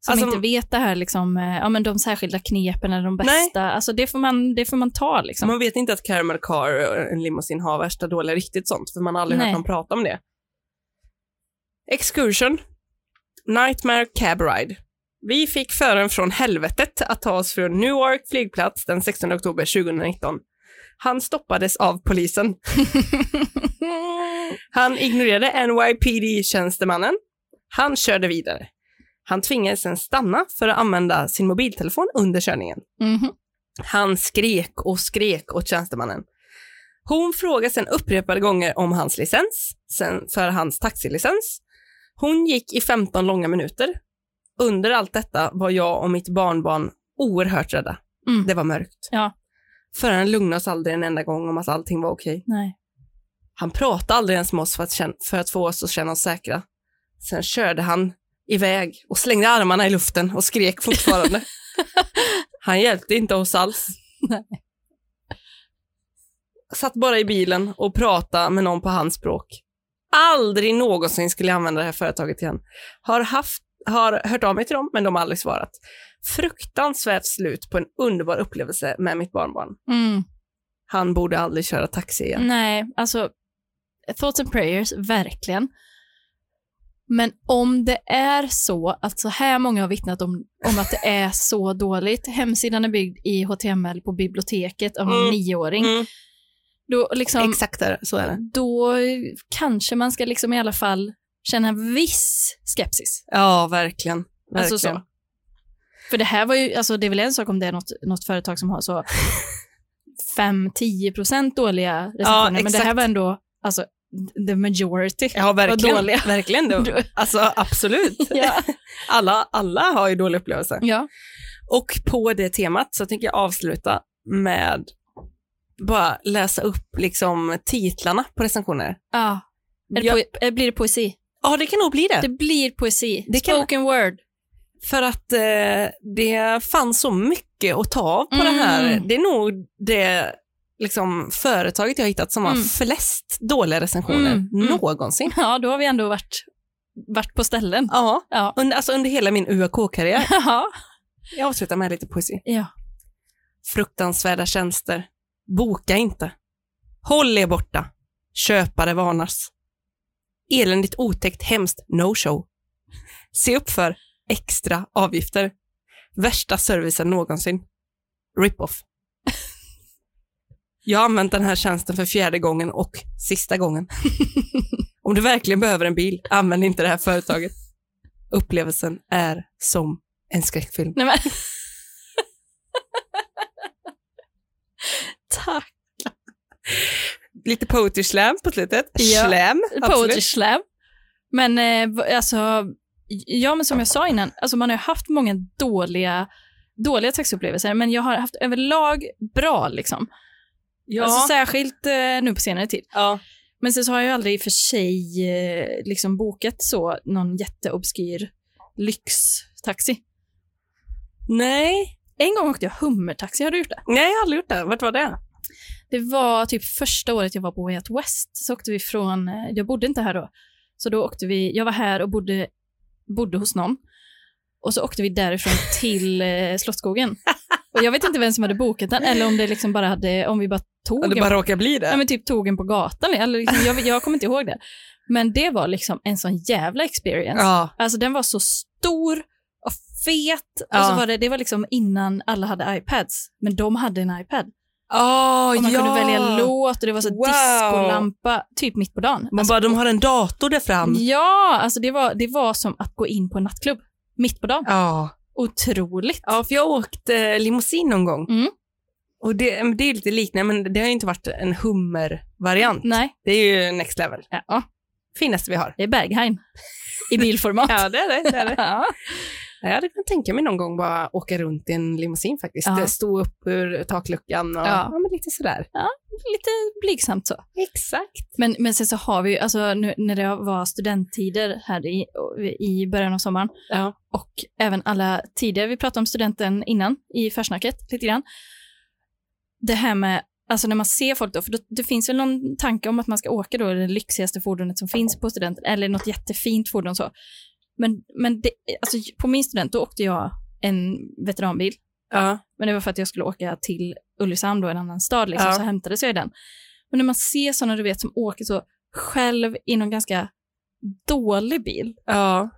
Speaker 1: Som
Speaker 2: Alltså-
Speaker 1: inte vet det här, liksom, eh, ja, men de särskilda knepen eller de
Speaker 2: Nej.
Speaker 1: bästa. Alltså, det, får man, det får man ta. Liksom.
Speaker 2: man vet inte att Caramel Car, eh, en limousin, har värsta dåliga riktigt sånt, för man har aldrig
Speaker 1: Nej.
Speaker 2: hört någon prata om det. Excursion, Nightmare Cab Ride. Vi fick föraren från helvetet att ta oss från Newark flygplats den 16 oktober 2019. Han stoppades av polisen. Han ignorerade NYPD-tjänstemannen. Han körde vidare. Han tvingades sen stanna för att använda sin mobiltelefon under körningen.
Speaker 1: Mhm.
Speaker 2: Han skrek och skrek åt tjänstemannen. Hon frågade sen upprepade gånger om hans licens, sen för hans taxilicens. Hon gick i 15 långa minuter. Under allt detta var jag och mitt barnbarn oerhört rädda.
Speaker 1: Mm.
Speaker 2: Det var mörkt.
Speaker 1: Ja.
Speaker 2: Föraren lugnade oss aldrig en enda gång om att allting var okej.
Speaker 1: Nej.
Speaker 2: Han pratade aldrig ens med oss för att, känna, för att få oss att känna oss säkra. Sen körde han iväg och slängde armarna i luften och skrek fortfarande. han hjälpte inte oss alls.
Speaker 1: Nej.
Speaker 2: satt bara i bilen och pratade med någon på hans språk. Aldrig någonsin skulle jag använda det här företaget igen. Har, haft, har hört av mig till dem, men de har aldrig svarat. Fruktansvärt slut på en underbar upplevelse med mitt barnbarn.
Speaker 1: Mm.
Speaker 2: Han borde aldrig köra taxi igen.
Speaker 1: Nej, alltså thoughts and prayers, verkligen. Men om det är så att så här många har vittnat om, om att det är så dåligt, hemsidan är byggd i HTML på biblioteket av en
Speaker 2: Mm.
Speaker 1: nioåring,
Speaker 2: Mm,
Speaker 1: då, liksom,
Speaker 2: Exakt där, så är det.
Speaker 1: då kanske man ska liksom i alla fall känna en viss skepsis.
Speaker 2: Ja, verkligen. verkligen.
Speaker 1: Alltså så. För det här var ju, alltså det är väl en sak om det är något, något företag som har så 5-10% dåliga recensioner, men det här
Speaker 2: exakt.
Speaker 1: var ändå alltså, the majority.
Speaker 2: Ja, verkligen.
Speaker 1: dåliga.
Speaker 2: Verkligen. Då. Alltså absolut.
Speaker 1: Ja.
Speaker 2: Alla, alla har ju dåliga upplevelser.
Speaker 1: ja.
Speaker 2: Och på det temat så tänker jag avsluta med bara läsa upp liksom titlarna på recensioner.
Speaker 1: Ja. Är det
Speaker 2: Ja.
Speaker 1: poe- eh, blir det poesi?
Speaker 2: Ja, det kan nog bli det.
Speaker 1: Det blir poesi.
Speaker 2: Det kan-
Speaker 1: Spoken word.
Speaker 2: För att eh, det fanns så mycket att ta av på det här.
Speaker 1: Mm.
Speaker 2: Det är nog det liksom, företaget jag har hittat som har
Speaker 1: Mm.
Speaker 2: flest dåliga recensioner
Speaker 1: Mm, mm.
Speaker 2: någonsin.
Speaker 1: Ja, då har vi ändå varit, varit på ställen.
Speaker 2: Ja,
Speaker 1: Ja.
Speaker 2: under, alltså under hela min UAK-karriär.
Speaker 1: Ja.
Speaker 2: Jag avslutar med lite poesi.
Speaker 1: ja.
Speaker 2: Fruktansvärda tjänster. Boka inte. Håll er borta. Köpare varnas. Eländigt otäckt hemskt no-show. Se upp för extra avgifter. Värsta servicen någonsin. Rip-off. Jag har använt den här tjänsten för fjärde gången och sista gången. Om du verkligen behöver en bil, använd inte det här företaget. Upplevelsen är som en skräckfilm.
Speaker 1: Nej, men. Tack.
Speaker 2: lite poetry slam på slutet.
Speaker 1: Ja.
Speaker 2: Slam,
Speaker 1: Poetry
Speaker 2: absolut.
Speaker 1: slam. Men eh, v- alltså, ja men som jag sa innan, alltså man har ju haft många dåliga, dåliga taxiupplevelser, men jag har haft överlag bra liksom.
Speaker 2: Ja.
Speaker 1: Alltså, särskilt eh, nu på senare tid.
Speaker 2: ja.
Speaker 1: Men sen så har jag ju aldrig i och för sig eh, liksom bokat så någon jätteobskyr lyxtaxi.
Speaker 2: Nej.
Speaker 1: En gång åkte jag hummertaxi, har du gjort det?
Speaker 2: Nej, jag har aldrig gjort det. Vart var det?
Speaker 1: Det var typ första året jag var på Way Out West, så åkte vi från, eh, jag bodde inte här då, så då åkte vi, jag var här och bodde, bodde hos någon. Och så åkte vi därifrån till eh, Slottsskogen. Och jag vet inte vem som hade bokat den, eller om det liksom bara hade, om vi bara tog
Speaker 2: Eller
Speaker 1: en
Speaker 2: bara råkar bli det?
Speaker 1: Ja, men typ tog en på gatan. Eller liksom, jag, jag kommer inte ihåg det. Men det var liksom en sån jävla experience.
Speaker 2: ja.
Speaker 1: Alltså den var så stor och fet. Och
Speaker 2: Ja.
Speaker 1: så var det, det var liksom innan alla hade iPads, men de hade en iPad.
Speaker 2: Oh,
Speaker 1: Och man
Speaker 2: ja.
Speaker 1: kunde välja låt och det var så
Speaker 2: Wow.
Speaker 1: discolampa, typ mitt på dagen.
Speaker 2: Man
Speaker 1: Alltså,
Speaker 2: bara, de har en dator där fram.
Speaker 1: ja, alltså det var, det var som att gå in på en nattklubb. Mitt på dagen.
Speaker 2: Ja.
Speaker 1: Otroligt.
Speaker 2: ja, för jag åkte limousin någon gång.
Speaker 1: Mm.
Speaker 2: Och det, men det är lite liknande, men det har ju inte varit en hummervariant.
Speaker 1: Nej,
Speaker 2: Det är ju next level.
Speaker 1: ja,
Speaker 2: Finaste vi har.
Speaker 1: det är Berghain i bilformat.
Speaker 2: Ja, det är det. det, är det.
Speaker 1: Ja.
Speaker 2: Jag hade kunnat tänka mig någon gång bara åka runt i en limousin faktiskt.
Speaker 1: Ja.
Speaker 2: Stå upp ur takluckan och
Speaker 1: Ja.
Speaker 2: ja, men lite sådär.
Speaker 1: Lite blygsamt så.
Speaker 2: Exakt.
Speaker 1: Men, men sen så har vi ju, alltså nu när det var studenttider här i, i början av sommaren
Speaker 2: Ja.
Speaker 1: och även alla tidigare, vi pratade om studenten innan i försnacket lite grann. Det här med, alltså när man ser folk då, för då, det finns väl någon tanke om att man ska åka då i det lyxigaste fordonet som finns på studenten eller något jättefint fordon så. Men, men det, alltså på min student då åkte jag en veteranbil
Speaker 2: Ja.
Speaker 1: men det var för att jag skulle åka till Ulricehamn, då, en annan stad, liksom,
Speaker 2: Ja.
Speaker 1: så hämtades jag i den. Men när man ser sådana du vet som åker så själv i någon ganska dålig bil,
Speaker 2: Ja.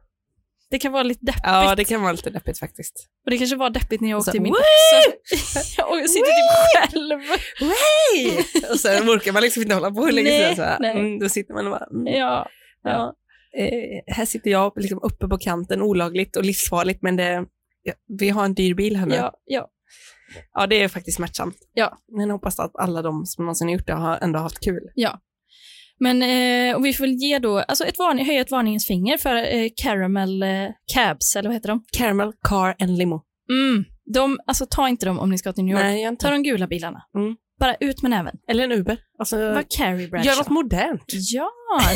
Speaker 1: det kan vara lite deppigt.
Speaker 2: ja, det kan vara lite deppigt faktiskt.
Speaker 1: Och det kanske var deppigt när jag åkte
Speaker 2: Så,
Speaker 1: i min
Speaker 2: "Woo!"
Speaker 1: också. jag sitter typ själv.
Speaker 2: Hej! Och sen orkar man liksom inte hålla på hur länge
Speaker 1: Nej,
Speaker 2: som helst. så här.
Speaker 1: nej.
Speaker 2: Mm, Då sitter man och bara... Mm,
Speaker 1: Ja, ja.
Speaker 2: ja. Eh, här sitter jag liksom uppe på kanten, olagligt och livsfarligt, men det, ja, vi har en dyr bil här nu. Ja.
Speaker 1: ja, ja.
Speaker 2: det är faktiskt smärtsamt.
Speaker 1: Ja.
Speaker 2: Men jag hoppas att alla de som någonsin har gjort det har ändå haft kul.
Speaker 1: Men eh, och vi får väl ge då, alltså ett varning, höja ett varningens finger för eh, caramel eh, cabs, eller vad heter de?
Speaker 2: Caramel, car and limo.
Speaker 1: Mm. de? Alltså ta inte dem om ni ska till New York.
Speaker 2: Nej, jag
Speaker 1: Ta
Speaker 2: inte.
Speaker 1: de gula bilarna.
Speaker 2: Mm.
Speaker 1: Bara ut med näven.
Speaker 2: Eller en Uber. Alltså,
Speaker 1: Var Carrie Bradshaw.
Speaker 2: gör något modernt.
Speaker 1: Ja,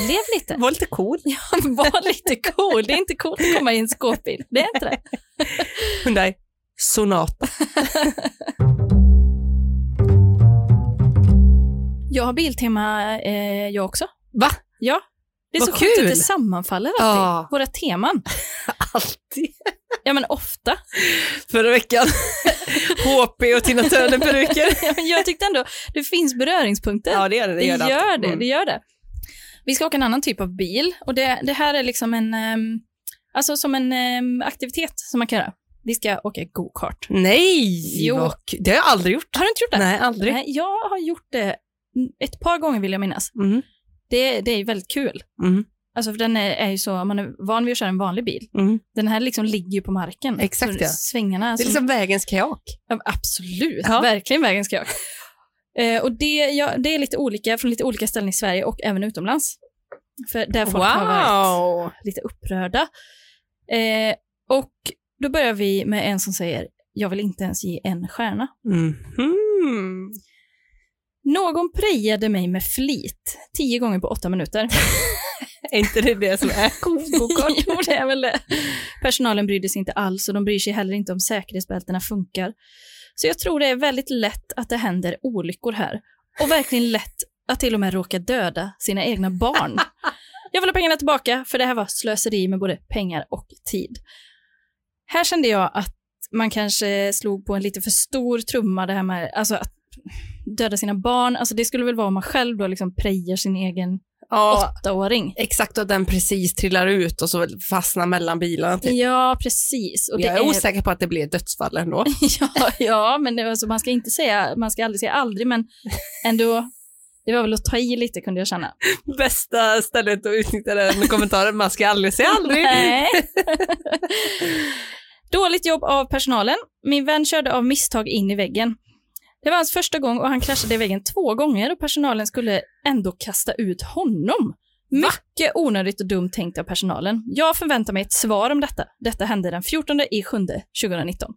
Speaker 1: lev lite.
Speaker 2: Var lite cool.
Speaker 1: Var lite cool. Det är inte coolt att komma i en skåpbil. Det är inte det.
Speaker 2: Hyundai Sonata.
Speaker 1: Jag har Biltema eh, jag också.
Speaker 2: Va?
Speaker 1: Ja. Det är
Speaker 2: Vad
Speaker 1: så sjukt
Speaker 2: kul.
Speaker 1: att det sammanfaller alltid.
Speaker 2: Ja,
Speaker 1: Våra teman.
Speaker 2: alltid.
Speaker 1: Ja, men ofta.
Speaker 2: Förra veckan, HP och Tina Turner-peruker.
Speaker 1: Ja, men jag tyckte ändå, det finns beröringspunkter.
Speaker 2: ja, det gör det.
Speaker 1: det, gör det, gör
Speaker 2: alltid.
Speaker 1: det,
Speaker 2: Mm.
Speaker 1: Vi ska åka en annan typ av bil och det, det här är liksom en, ehm, alltså som en ehm, aktivitet som man kan göra. Vi ska åka go-kart.
Speaker 2: Nej,
Speaker 1: Jo.
Speaker 2: vad kul. det har jag aldrig gjort.
Speaker 1: Har du inte gjort det?
Speaker 2: Nej, aldrig.
Speaker 1: Nej, jag har gjort det ett par gånger vill jag minnas.
Speaker 2: Mm.
Speaker 1: Det, det är ju väldigt kul.
Speaker 2: Mm.
Speaker 1: Alltså för den är, är ju så, man är van vid att köra en vanlig bil.
Speaker 2: Mm.
Speaker 1: Den här liksom ligger ju på marken.
Speaker 2: Exakt,
Speaker 1: Så
Speaker 2: ja.
Speaker 1: Svängarna.
Speaker 2: Det är
Speaker 1: som-
Speaker 2: liksom vägens kajak.
Speaker 1: Ja, Absolut,
Speaker 2: Ja.
Speaker 1: verkligen vägen ska jag. Eh, och det, ja, det är lite olika från lite olika ställen i Sverige och även utomlands. För där folk har varit lite upprörda. Eh, och då börjar vi med en som säger, jag vill inte ens ge en stjärna.
Speaker 2: Mhm.
Speaker 1: Någon prejade mig med flit, tio gånger på åtta minuter.
Speaker 2: Är inte det det som är kokokart?
Speaker 1: jo, det är väl det. Personalen brydde sig inte alls och de bryr sig heller inte om säkerhetsbältena funkar. Så jag tror det är väldigt lätt att det händer olyckor här. Och verkligen lätt att till och med råka döda sina egna barn. Jag vill ha pengarna tillbaka, för det här var slöseri med både pengar och tid. Här kände jag att man kanske slog på en lite för stor trumma, det här med alltså att döda sina barn. Alltså det skulle väl vara om man själv då liksom prejar sin egen
Speaker 2: ja,
Speaker 1: åttaåring.
Speaker 2: exakt. Och den precis trillar ut och så fastnar mellan bilarna. Typ.
Speaker 1: Ja, precis. Och det
Speaker 2: jag är,
Speaker 1: är-
Speaker 2: osäker på att det blir ett dödsfall ändå.
Speaker 1: Ja, ja men det, var så- man ska inte säga, man ska aldrig säga aldrig, men ändå, det var väl att ta i lite kunde jag känna.
Speaker 2: Bästa stället att utnyttja den kommentaren. Man ska aldrig säga aldrig.
Speaker 1: Nej. Dåligt jobb av personalen. Min vän körde av misstag in i väggen. Det var hans första gång och han kraschade i väggen två gånger och personalen skulle ändå kasta ut honom. Mycket onödigt och dumt tänkt av personalen. Jag förväntar mig ett svar om detta. Detta hände den 14 i 7 2019.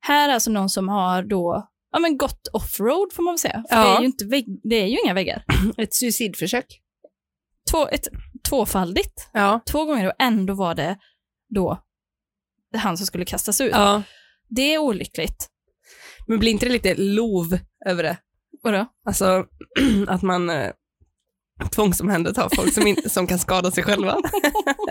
Speaker 1: Här är alltså någon som har då ja, men gått offroad får man väl säga. För
Speaker 2: Ja.
Speaker 1: det, är ju inte vägg, det är ju inga väggar.
Speaker 2: Ett suicidförsök.
Speaker 1: Två, ett, tvåfaldigt
Speaker 2: Ja.
Speaker 1: två gånger och ändå var det då han som skulle kastas ut.
Speaker 2: ja.
Speaker 1: Det är olyckligt.
Speaker 2: Men blir inte det lite lov över det?
Speaker 1: Vadå?
Speaker 2: Alltså att man eh, tvångsomhändertar folk som, in, som kan skada sig själva.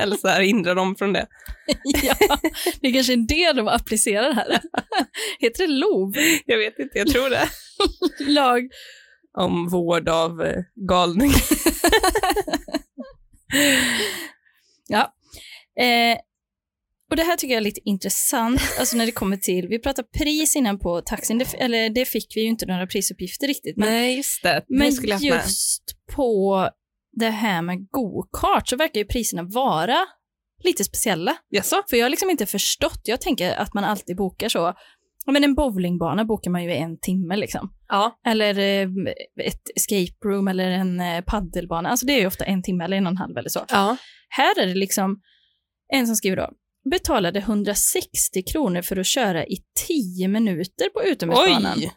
Speaker 2: Eller så här hindra dem från det.
Speaker 1: Ja, det är kanske är det de applicerar här. Heter det LOV?
Speaker 2: Jag vet inte, jag tror det.
Speaker 1: Lag.
Speaker 2: Om vård av eh, galningar.
Speaker 1: Ja. Eh, och det här tycker jag är lite intressant, alltså när det kommer till, vi pratade pris innan på taxin, det, eller det fick vi ju inte några prisuppgifter riktigt, men,
Speaker 2: Nej, just det.
Speaker 1: men
Speaker 2: det skulle jag haft med.
Speaker 1: just på det här med go-kart så verkar ju priserna vara lite speciella.
Speaker 2: Jaså?
Speaker 1: För jag har liksom inte förstått, jag tänker att man alltid bokar så, ja, men en bowlingbana bokar man ju i en timme liksom.
Speaker 2: Ja.
Speaker 1: Eller eh, ett escape room eller en eh, paddelbana, alltså det är ju ofta en timme eller en och en halv eller så.
Speaker 2: ja.
Speaker 1: Här är det liksom, en som skriver då, betalade 160 kronor för att köra i 10 minuter på utomhusbanan.
Speaker 2: Oj!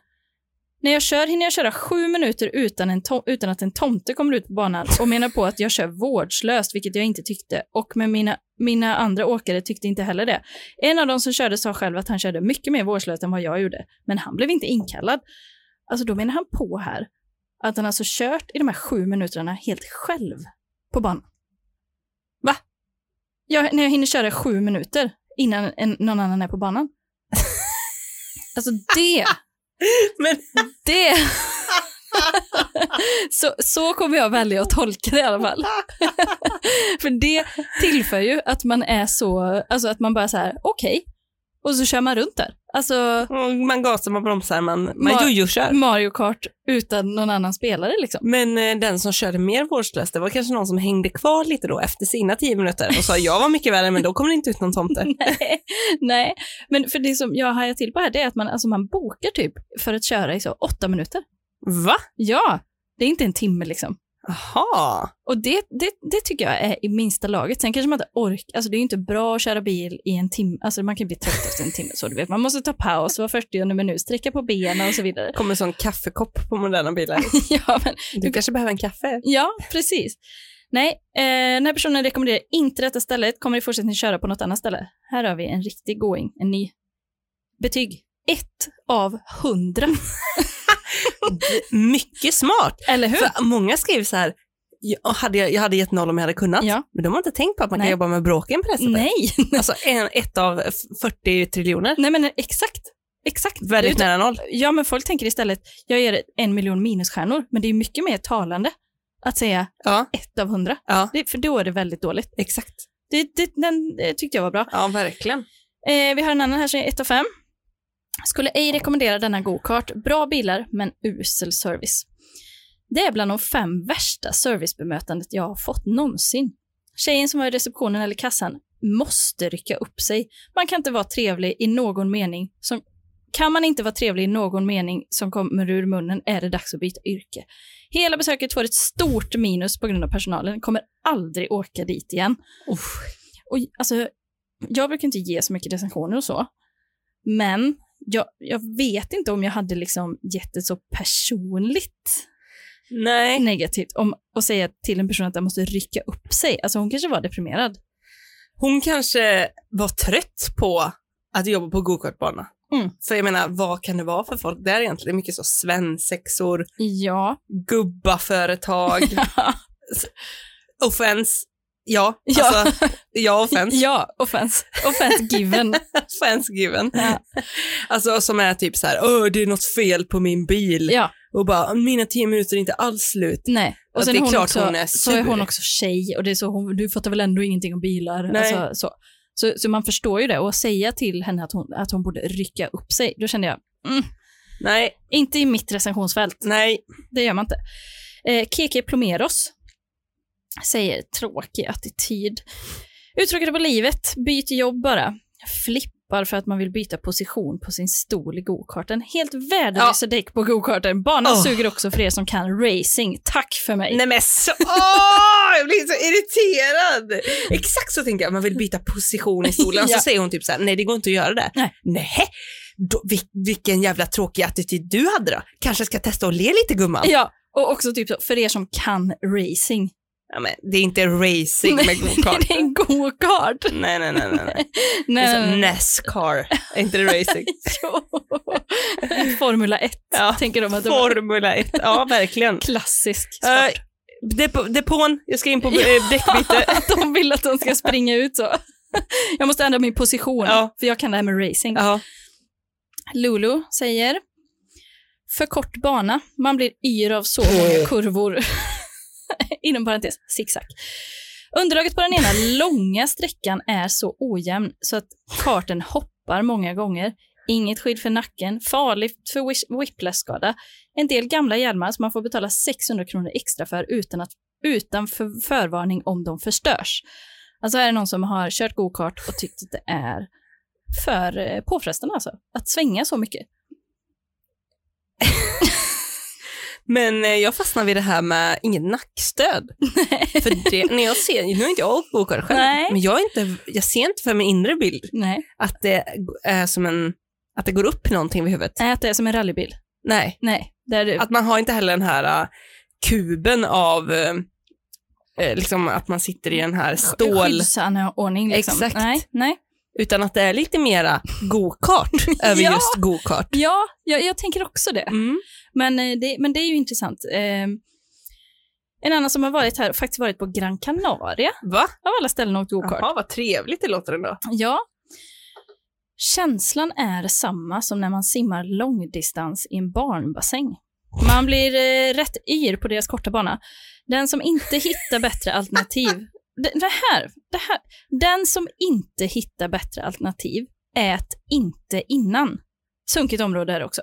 Speaker 1: När jag kör hinner jag köra sju minuter utan, en to- utan att en tomte kommer ut på banan och menar på att jag kör vårdslöst, vilket jag inte tyckte. Och med mina, mina andra åkare tyckte inte heller det. En av de som körde sa själv att han körde mycket mer vårdslöst än vad jag gjorde, men han blev inte inkallad. Alltså då menar han på här att han alltså kört i de här sju minuterna helt själv på banan. Va? Jag, när jag hinner köra sju minuter innan en, någon annan är på banan. alltså det
Speaker 2: Men
Speaker 1: det... så, så kommer jag välja att tolka det i alla fall. För det tillför ju att man är så, alltså att man bara så här, okej, och så kör man runt där. Alltså
Speaker 2: mm, man gasar, man bromsar, man, man
Speaker 1: Ma-
Speaker 2: jojo-kör.
Speaker 1: Mario Kart utan någon annan spelare liksom.
Speaker 2: Men eh, den som körde mer vårdslöst, det var kanske någon som hängde kvar lite då efter sina tio minuter och sa jag var mycket värre, men då kommer det inte ut någon tomte.
Speaker 1: Nej, nej, men för det som jag hajar till på här, det är att man, alltså man bokar typ för att köra i så åtta minuter.
Speaker 2: Va?
Speaker 1: Ja, det är inte en timme liksom.
Speaker 2: Jaha.
Speaker 1: Och det, det, det tycker jag är i minsta laget. Sen kanske man inte orkar, alltså det är ju inte bra att köra bil i en timme, alltså man kan ju bli trött efter en timme så du vet. Man måste ta paus var 40 minut, sträcka på benen och så vidare.
Speaker 2: Kommer som kaffekopp på moderna bilar.
Speaker 1: ja, men,
Speaker 2: Du kanske behöver en kaffe?
Speaker 1: ja, precis. Nej, eh, den här personen rekommenderar inte detta stället, kommer i fortsättningen köra på något annat ställe. Här har vi en riktig going, en ny. Betyg 1 av 100.
Speaker 2: Mycket smart.
Speaker 1: Eller hur?
Speaker 2: För många skrev så här, jag hade, jag hade gett noll om jag hade kunnat,
Speaker 1: Ja.
Speaker 2: men de har inte tänkt på att man kan
Speaker 1: Nej.
Speaker 2: jobba med bråken på det sättet.
Speaker 1: Nej.
Speaker 2: Alltså en, ett av f- 40 triljoner.
Speaker 1: Nej, men exakt. Exakt. Det är
Speaker 2: Väldigt
Speaker 1: inte-
Speaker 2: nära noll.
Speaker 1: Ja, men folk tänker istället, jag ger en miljon minusstjärnor, men det är mycket mer talande att säga
Speaker 2: Ja,
Speaker 1: ett av hundra.
Speaker 2: ja
Speaker 1: Det, för då är det väldigt dåligt.
Speaker 2: exakt.
Speaker 1: Det, det, den eh, tyckte jag var bra.
Speaker 2: Ja, verkligen.
Speaker 1: Eh, vi har en annan här som är 1 av 5. Skulle ej rekommendera denna go-kart. Bra bilar, men usel service. Det är bland de fem värsta servicebemötandet jag har fått någonsin. Tjejen som var i receptionen eller kassan måste rycka upp sig. Man kan inte vara trevlig i någon mening. Som, kan man inte vara trevlig i någon mening som kommer ur munnen är det dags att byta yrke. Hela besöket får ett stort minus på grund av personalen. Kommer aldrig åka dit igen. Och, alltså, jag brukar inte ge så mycket recensioner och så, men jag, jag vet inte om jag hade liksom gett det så personligt
Speaker 2: Nej.
Speaker 1: negativt om att säga till en person att den måste rycka upp sig. Alltså hon kanske var deprimerad.
Speaker 2: Hon kanske var trött på att jobba på gokartbana.
Speaker 1: Mm.
Speaker 2: För jag menar, vad kan det vara för folk där egentligen? Mycket så svensexor,
Speaker 1: Ja.
Speaker 2: gubbaföretag, S- offense. Ja,
Speaker 1: Ja.
Speaker 2: alltså, ja offense.
Speaker 1: Ja, offense. Offense given.
Speaker 2: Offense given.
Speaker 1: Ja.
Speaker 2: Alltså som är typ så här, Åh, det är något fel på min bil.
Speaker 1: ja,
Speaker 2: Och bara, mina tio minuter är inte alls slut.
Speaker 1: nej.
Speaker 2: Ja,
Speaker 1: Och sen
Speaker 2: det är
Speaker 1: är hon
Speaker 2: klart
Speaker 1: också,
Speaker 2: hon är
Speaker 1: så är hon
Speaker 2: sur.
Speaker 1: också tjej och det är så hon, du fattar väl ändå ingenting om bilar.
Speaker 2: Nej.
Speaker 1: Alltså, så. Så, så man förstår ju det och att säga till henne att hon, att hon borde rycka upp sig, då kände jag, mm,
Speaker 2: Nej,
Speaker 1: inte i mitt recensionsfält.
Speaker 2: nej.
Speaker 1: det gör man inte. Eh, Keke Plomeros säger tråkig attityd. Uttråkad på livet, byt jobb bara. Flippar för att man vill byta position på sin stol i gokarten. Helt värdelösa däck på gokarten. Banan
Speaker 2: Åh.
Speaker 1: suger också för er som kan racing. Tack för mig.
Speaker 2: Nej men så, åh, jag blir så irriterad. Exakt så tänker jag, man vill byta position i stolen.
Speaker 1: Ja.
Speaker 2: Så säger hon typ så här, nej det går inte att göra det.
Speaker 1: Nej.
Speaker 2: Nähä, då, vil, vilken jävla tråkig attityd du hade då. Kanske ska testa att le lite gumman.
Speaker 1: Ja, och också typ så, för er som kan racing.
Speaker 2: Ja, men, det är inte racing
Speaker 1: Nej,
Speaker 2: med gokart.
Speaker 1: det är en gokart.
Speaker 2: Nej, nej, nej, nej. nej. Det
Speaker 1: Nej,
Speaker 2: är
Speaker 1: nej,
Speaker 2: som
Speaker 1: nej.
Speaker 2: Nascar, är inte det racing?
Speaker 1: Jo. Formula 1
Speaker 2: Ja.
Speaker 1: tänker de att det var
Speaker 2: Formula 1, ja verkligen.
Speaker 1: klassisk
Speaker 2: Eh,
Speaker 1: sport.
Speaker 2: dep- depån, jag ska in på eh, däckbyte.
Speaker 1: att de vill att de ska springa ut så. Jag måste ändra min position,
Speaker 2: Ja.
Speaker 1: för jag kan det här med racing.
Speaker 2: Ja.
Speaker 1: Lulu säger, för kort bana, man blir yr av så många kurvor. Inom parentes, zigzag. Underlaget på den ena långa sträckan är så ojämn så att karten hoppar många gånger. Inget skydd för nacken, farligt för whish- whiplash-skada. En del gamla hjälmar som man får betala 600 kronor extra för utan, att, utan för, förvarning om de förstörs. Alltså är det någon som har kört go-kart och tyckt att det är för eh, påfrestande alltså, att svänga så mycket.
Speaker 2: Men eh, jag fastnar vid det här med inget nackstöd. För det, när jag ser, nu har inte jag åkt gokart själv,
Speaker 1: Nej.
Speaker 2: men jag, är inte, jag ser inte för min inre bild
Speaker 1: Nej.
Speaker 2: att det är som en, att det går upp någonting vid huvudet.
Speaker 1: Nej, att det är som en rallybil.
Speaker 2: Nej.
Speaker 1: Nej, det är det.
Speaker 2: Att man har inte heller den här eh, kuben av, eh, eh, liksom att man sitter i den här stål,
Speaker 1: skyddsanordning liksom.
Speaker 2: Exakt.
Speaker 1: Nej, nej.
Speaker 2: utan att det är lite mera gokart över
Speaker 1: Ja.
Speaker 2: just gokart.
Speaker 1: Ja, jag, jag tänker också det.
Speaker 2: Mm.
Speaker 1: Men, eh, det. men det är ju intressant. Ehm, en annan som har varit här, faktiskt varit på Gran Canaria,
Speaker 2: Va?
Speaker 1: av alla ställen och åkt gokart.
Speaker 2: Jaha, vad trevligt det låter ändå.
Speaker 1: Ja. Känslan är samma som när man simmar långdistans i en barnbassäng. Man blir eh, rätt yr på deras korta bana. Den som inte hittar bättre alternativ... Det, det, här, det här. Den som inte hittar bättre alternativ, ät inte innan. Sunkigt område här också.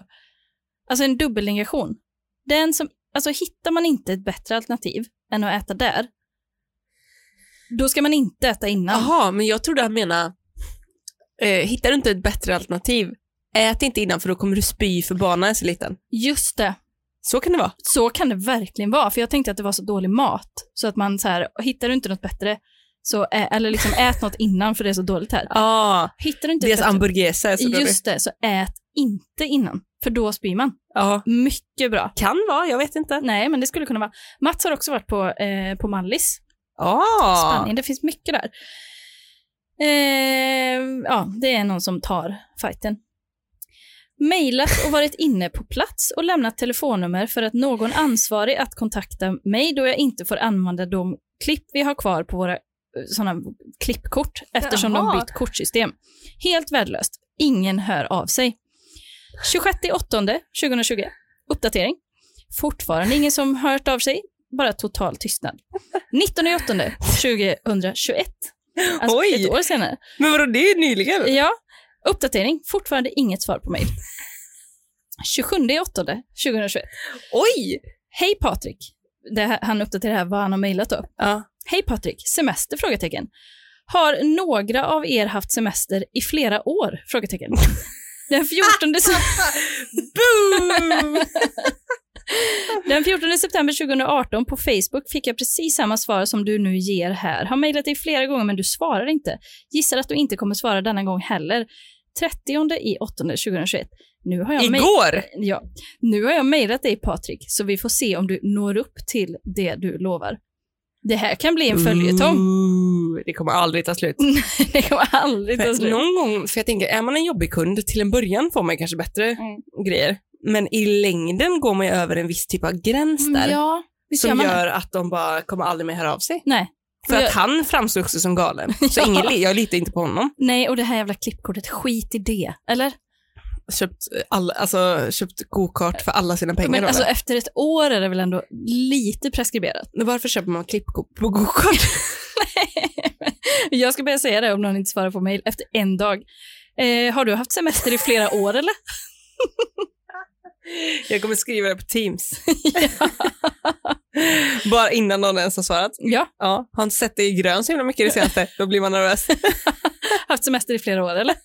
Speaker 1: Alltså en dubbelnegation. Den som, alltså hittar man inte ett bättre alternativ än att äta där, då ska man inte äta innan.
Speaker 2: Jaha, men jag trodde han menade, eh, hittar du inte ett bättre alternativ, ät inte innan för då kommer du spy för banan är så liten.
Speaker 1: Just det.
Speaker 2: Så kan det vara.
Speaker 1: Så kan det verkligen vara, för jag tänkte att det var så dålig mat. Så att man så här, hittar du inte något bättre, så ä- eller liksom ät något innan för det är så dåligt här.
Speaker 2: Ah,
Speaker 1: Hittar du inte
Speaker 2: deras
Speaker 1: ett bättre,
Speaker 2: hamburgesa är så dålig.
Speaker 1: just det, så ät inte innan, för då spyr man.
Speaker 2: Ja.
Speaker 1: Mycket bra.
Speaker 2: Kan vara, jag vet inte.
Speaker 1: Nej, men det skulle kunna vara. Mats har också varit på, eh, på Mallis,
Speaker 2: Ah,
Speaker 1: Spanien. Det finns mycket där. Eh, ja, det är någon som tar fighten. mejlat och varit inne på plats och lämnat telefonnummer för att någon ansvarig att kontakta mig då jag inte får använda de klipp vi har kvar på våra sådana klippkort eftersom de
Speaker 4: Jaha.
Speaker 1: bytt kortsystem. Helt värdelöst. Ingen hör av sig. 26 8 2020. Uppdatering. Fortfarande ingen som hört av sig. Bara total tystnad. 19 8 2021. Alltså
Speaker 2: Oj.
Speaker 1: ett år senare.
Speaker 2: Men vadå, det är nyligen?
Speaker 1: Ja, uppdatering. Fortfarande inget svar på mejl. 27 8 2021.
Speaker 2: Oj!
Speaker 1: Hej Patrik. Det här, han uppdaterar här vad han har mejlat då.
Speaker 2: Ja.
Speaker 1: Hej Patrik, semester? Frågetecken. Har några av er haft semester i flera år? Frågetecken. Den 14, se-
Speaker 2: Boom!
Speaker 1: den 14 september 2018 på Facebook fick jag precis samma svar som du nu ger här. Har mejlat dig flera gånger men du svarar inte. Gissar att du inte kommer svara denna gång heller. 30 i 8 2021. Nu har jag mejl-
Speaker 2: Igår!
Speaker 1: Ja. Nu har jag mejlat dig Patrik, så vi får se om du når upp till det du lovar. Det här kan
Speaker 2: Mm.
Speaker 1: bli en följetong.
Speaker 2: Ooh, Det kommer aldrig ta slut.
Speaker 1: Det kommer aldrig ta slut.
Speaker 2: Mm. Någon gång, för jag tänker, är man en jobbig kund, till en början får man kanske bättre
Speaker 1: Mm.
Speaker 2: grejer. Men i längden går man ju över en viss typ av gräns där.
Speaker 1: Ja, visst gör
Speaker 2: som
Speaker 1: man det.
Speaker 2: gör att de bara kommer aldrig mer höra av sig.
Speaker 1: Nej.
Speaker 2: För
Speaker 1: Jag-
Speaker 2: att han framstod också som galen. Så
Speaker 1: Ja.
Speaker 2: ingen, li- jag litar inte på honom.
Speaker 1: Nej, och det här jävla klippkortet, skit i det. Eller?
Speaker 2: Köpt, all, alltså, köpt go-kart för alla sina pengar.
Speaker 1: Men
Speaker 2: då,
Speaker 1: alltså
Speaker 2: eller?
Speaker 1: efter ett år är det väl ändå lite preskriberat.
Speaker 2: Varför köper man klippkort på go-kart?
Speaker 1: Jag ska börja säga det om någon inte svarar på mejl efter en dag. Eh, har du haft semester i flera år eller?
Speaker 2: jag kommer skriva det på Teams. Bara innan någon ens har svarat.
Speaker 1: Ja,
Speaker 2: Ja, har inte sett det i grön så himla mycket det senaste. Då blir man nervös.
Speaker 1: haft semester i flera år eller?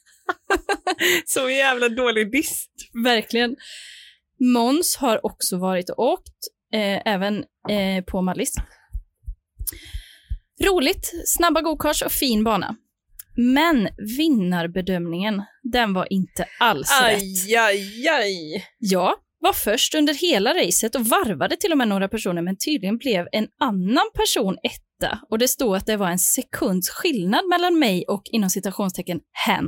Speaker 2: så jävla dålig diss.
Speaker 1: Verkligen. Måns har också varit och åkt, eh, även eh, på Mallis. Roligt, snabba gokarts och fin bana. Men vinnarbedömningen, den var inte alls rätt.
Speaker 2: aj, aj.
Speaker 1: Jag var först under hela racet och varvade till och med några personer, men tydligen blev en annan person etta och det stod att det var en sekunds skillnad mellan mig och inom citationstecken hen.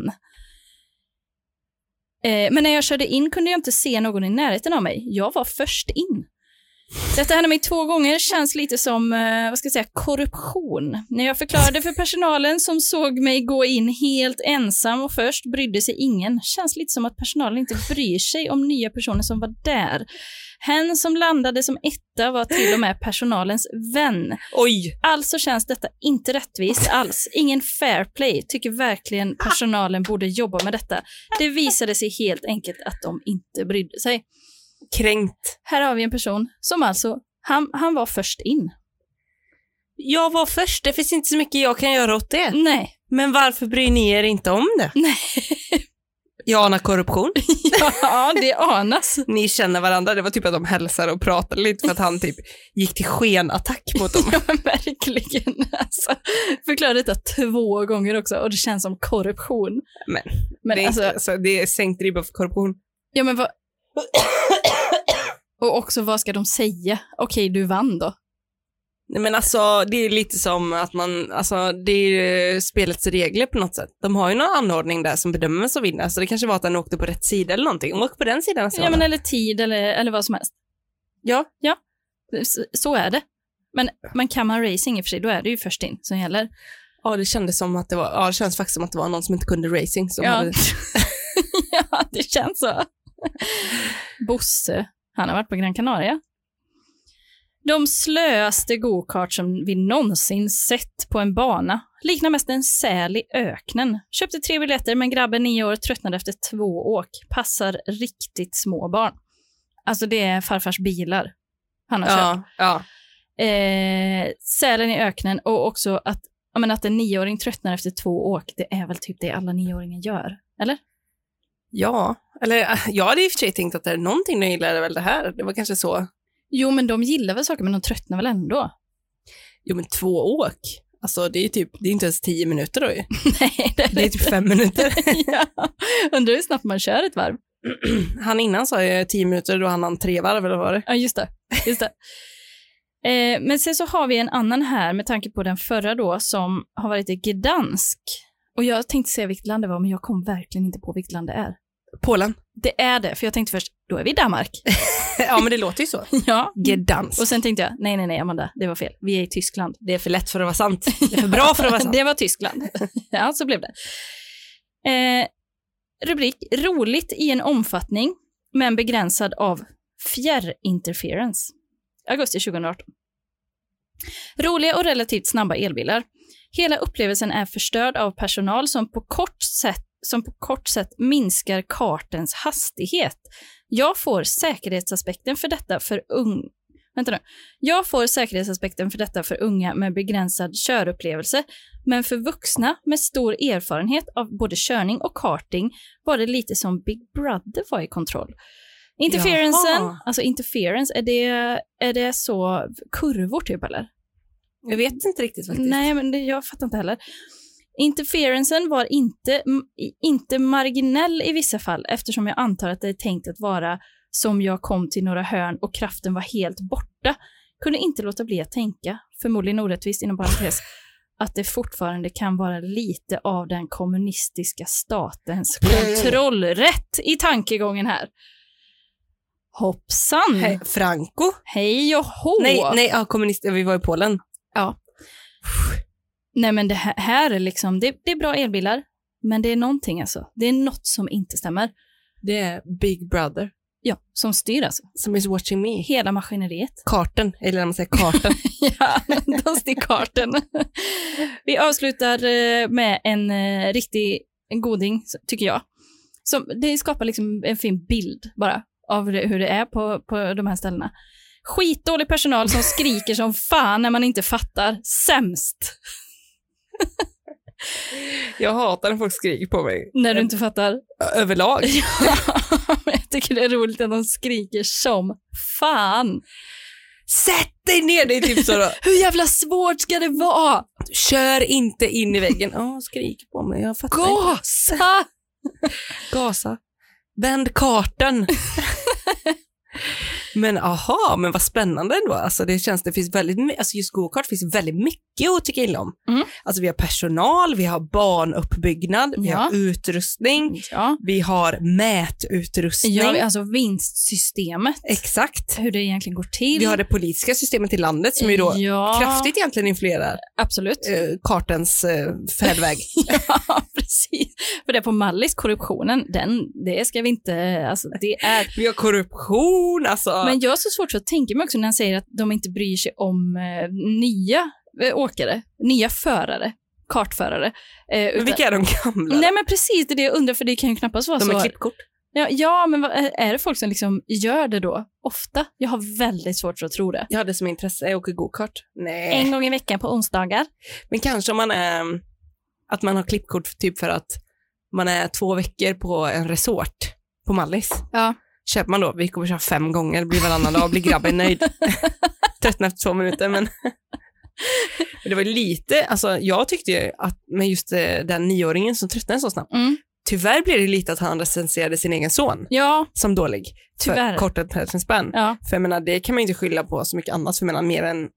Speaker 1: Eh, men när jag körde in kunde jag inte se någon i närheten av mig. Jag var först in. Detta hände mig två gånger, känns lite som eh, vad ska jag säga, korruption. När jag förklarade för personalen som såg mig gå in helt ensam och först brydde sig ingen, känns lite som att personalen inte bryr sig om nya personer som var där. Hen som landade som etta var till och med personalens vän.
Speaker 2: Oj,
Speaker 1: Alltså känns detta inte rättvist alls. Ingen fair play. Tycker verkligen personalen borde jobba med detta. Det visade sig helt enkelt att de inte brydde sig.
Speaker 2: kränkt.
Speaker 1: Här har vi en person som alltså, han, han var först in.
Speaker 2: Jag var först, det finns inte så mycket jag kan göra åt det.
Speaker 1: Nej,
Speaker 2: Men varför bryr ni er inte om det?
Speaker 1: Nej.
Speaker 2: Jag anar korruption.
Speaker 1: ja det anas.
Speaker 2: Ni känner varandra. Det var typ att de hälsade och pratade lite för att han typ gick till skenattack mot dem.
Speaker 1: Ja, men verkligen. Alltså, förklara detta två gånger också och det känns som korruption.
Speaker 2: Men,
Speaker 1: Men
Speaker 2: det, är,
Speaker 1: alltså,
Speaker 2: inte- alltså, det är sänkt ribba för korruption.
Speaker 1: ja men vad... Och också vad ska de säga? Okej, du vann då.
Speaker 2: Nej, men alltså det är lite som att man, alltså det är ju spelets regler på något sätt. De har ju någon anordning där som bedömer vem som vinner, så det kanske var att han åkte på rätt sida eller någonting. Åk på den sidan nästa
Speaker 1: Ja,
Speaker 2: gång.
Speaker 1: men eller tid eller, eller vad som helst.
Speaker 2: Ja.
Speaker 1: Ja, så, så är det. Men, men kan man racing i och för sig, då är det ju först in som gäller.
Speaker 2: ja, det kändes som att det var, ja det känns faktiskt som att det var någon som inte kunde racing som
Speaker 1: Ja.
Speaker 2: hade
Speaker 1: ja, det känns så. Bosse, han har varit på Gran Canaria. De slöaste gokart som vi någonsin sett på en bana. Liknar mest en säl i öknen. Köpte tre biljetter, men grabben nio år tröttnade efter två åk. Passar riktigt små barn. Alltså det är farfars bilar han har köpt
Speaker 2: Ja, ja.
Speaker 1: eh, sälen i öknen och också att, ja, men att en nioåring tröttnar efter två åk, det är väl typ det alla nioåringar gör, eller?
Speaker 2: ja, eller äh, jag hade i och för sig tänkt att det är någonting de gillade väl det här. Det var kanske så,
Speaker 1: Jo, men de gillar väl saker, men de tröttnar väl ändå?
Speaker 2: jo men två åk. Alltså det är ju typ, det är inte ens tio minuter då ju.
Speaker 1: Nej, det är
Speaker 2: Det är
Speaker 1: det
Speaker 2: typ fem minuter.
Speaker 1: ja. Undrar hur snabbt man kör ett varv.
Speaker 2: Han innan sa ju tio minuter då han hann tre varv eller vad var det?
Speaker 1: Ja, just det. Just det. Eh, men sen så har vi en annan här med tanke på den förra då som har varit i Gdansk. Och jag tänkte säga vilket land det var, men jag kom verkligen inte på vilket land det är.
Speaker 2: Polen.
Speaker 1: det är det, för jag tänkte först, då är vi i Danmark.
Speaker 4: ja, men det låter ju så.
Speaker 1: ja.
Speaker 2: Gedans.
Speaker 1: Och sen tänkte jag, nej, nej, nej, Amanda, det var fel. Vi är i Tyskland.
Speaker 4: Det är för lätt för att vara sant. Det är för bra för att vara sant.
Speaker 1: Det var Tyskland. ja, så blev det. Eh, rubrik, roligt i en omfattning, men begränsad av fjärrinterferens. Augusti 2018. Roliga och relativt snabba elbilar. Hela upplevelsen är förstörd av personal som på kort sätt som på kort sätt minskar kartens hastighet. Jag får säkerhetsaspekten för detta för ung... Vänta nu. Jag får säkerhetsaspekten för detta för unga med begränsad körupplevelse, men för vuxna med stor erfarenhet av både körning och karting var det lite som Big Brother var i kontroll. Interferensen,
Speaker 4: Jaha.
Speaker 1: alltså interference, är det, är det så kurvor typ eller?
Speaker 4: Jag vet inte riktigt faktiskt.
Speaker 1: Nej, men det, jag fattar inte heller. Interferensen var inte, m- i- inte marginell i vissa fall eftersom jag antar att det är tänkt att vara som jag kom till några hörn och kraften var helt borta. Kunde inte låta bli att tänka, förmodligen orättvist inom parentes, att det fortfarande kan vara lite av den kommunistiska statens kontrollrätt i tankegången här. Hoppsan!
Speaker 4: Hej, Franco?
Speaker 1: Hej och hå!
Speaker 2: Nej,
Speaker 4: Nej, ja, kommunist, vi var i Polen.
Speaker 1: Nej men det här, här är liksom, det, det är bra elbilar, men det är någonting alltså. Det är något som inte stämmer.
Speaker 2: det är Big Brother.
Speaker 1: Ja, som styr alltså.
Speaker 2: Som is watching me.
Speaker 1: Hela maskineriet.
Speaker 2: Karten, eller när man säger karten.
Speaker 1: ja, dust i karten. Vi avslutar eh, med en eh, riktig en goding, så- tycker jag. Som, det skapar liksom en fin bild bara av det, hur det är på, på de här ställena. Skitdålig personal som skriker som fan när man inte fattar. Sämst
Speaker 2: jag hatar när folk skriker på mig.
Speaker 1: när du inte fattar.
Speaker 2: Överlag.
Speaker 1: Men jag tycker det är roligt att de skriker som fan.
Speaker 2: Sätt dig ner! Det är typ så då.
Speaker 1: Hur jävla svårt ska det vara?
Speaker 2: Kör inte in i väggen. Ja, skrik på mig. Jag fattar inte.
Speaker 1: Gasa!
Speaker 2: Gasa. Vänd kartan. men aha, men vad spännande ändå. Alltså det känns, det finns väldigt, my- alltså just gokart finns väldigt mycket att tycka illa om.
Speaker 1: Mm.
Speaker 2: Alltså vi har personal, vi har banuppbyggnad, vi
Speaker 1: Ja.
Speaker 2: har utrustning,
Speaker 1: Ja.
Speaker 2: vi har mätutrustning.
Speaker 1: ja, alltså vinstsystemet.
Speaker 2: Exakt.
Speaker 1: Hur det egentligen går till.
Speaker 2: Vi har det politiska systemet i landet som ju då
Speaker 1: ja,
Speaker 2: kraftigt egentligen influerar
Speaker 1: Absolut.
Speaker 2: eh, kartens eh, färdväg.
Speaker 1: ja, precis. För det på Mallis, korruptionen, den, det ska vi inte, alltså det är
Speaker 2: vi har korruption, alltså.
Speaker 1: Men jag har så svårt att tänka mig också när han säger att de inte bryr sig om eh, nya eh, åkare, nya förare, kartförare. Eh,
Speaker 2: Men
Speaker 1: utan-
Speaker 2: vilka är de gamla?
Speaker 1: Nej alltså- men precis, det är det jag undrar, för det kan ju knappast vara
Speaker 2: de
Speaker 1: så.
Speaker 2: är klippkort.
Speaker 1: Ja, ja, men vad, är är det folk som liksom gör det då? Ofta? Jag har väldigt svårt för att tro det.
Speaker 2: Jag hade som intresse, jag åker gokart. Nej.
Speaker 1: En gång i veckan på onsdagar.
Speaker 2: Men kanske om man är, att man har klippkort typ för att man är två veckor på en resort på Mallis.
Speaker 1: Ja.
Speaker 2: Köper man då, vi kommer köra fem gånger, blir varannan dag, blir grabben nöjd. Tröttnar efter två minuter, men. men det var lite, alltså jag tyckte ju att, men just eh, den nioåringen som tröttnade så snabbt,
Speaker 1: Mm.
Speaker 2: tyvärr blev det lite att han recenserade sin egen son
Speaker 1: Ja,
Speaker 2: som dålig.
Speaker 1: Tyvärr.
Speaker 2: För kort attention
Speaker 1: ja,
Speaker 2: För jag menar, det kan man ju inte skylla på så mycket annat, för jag menar mer än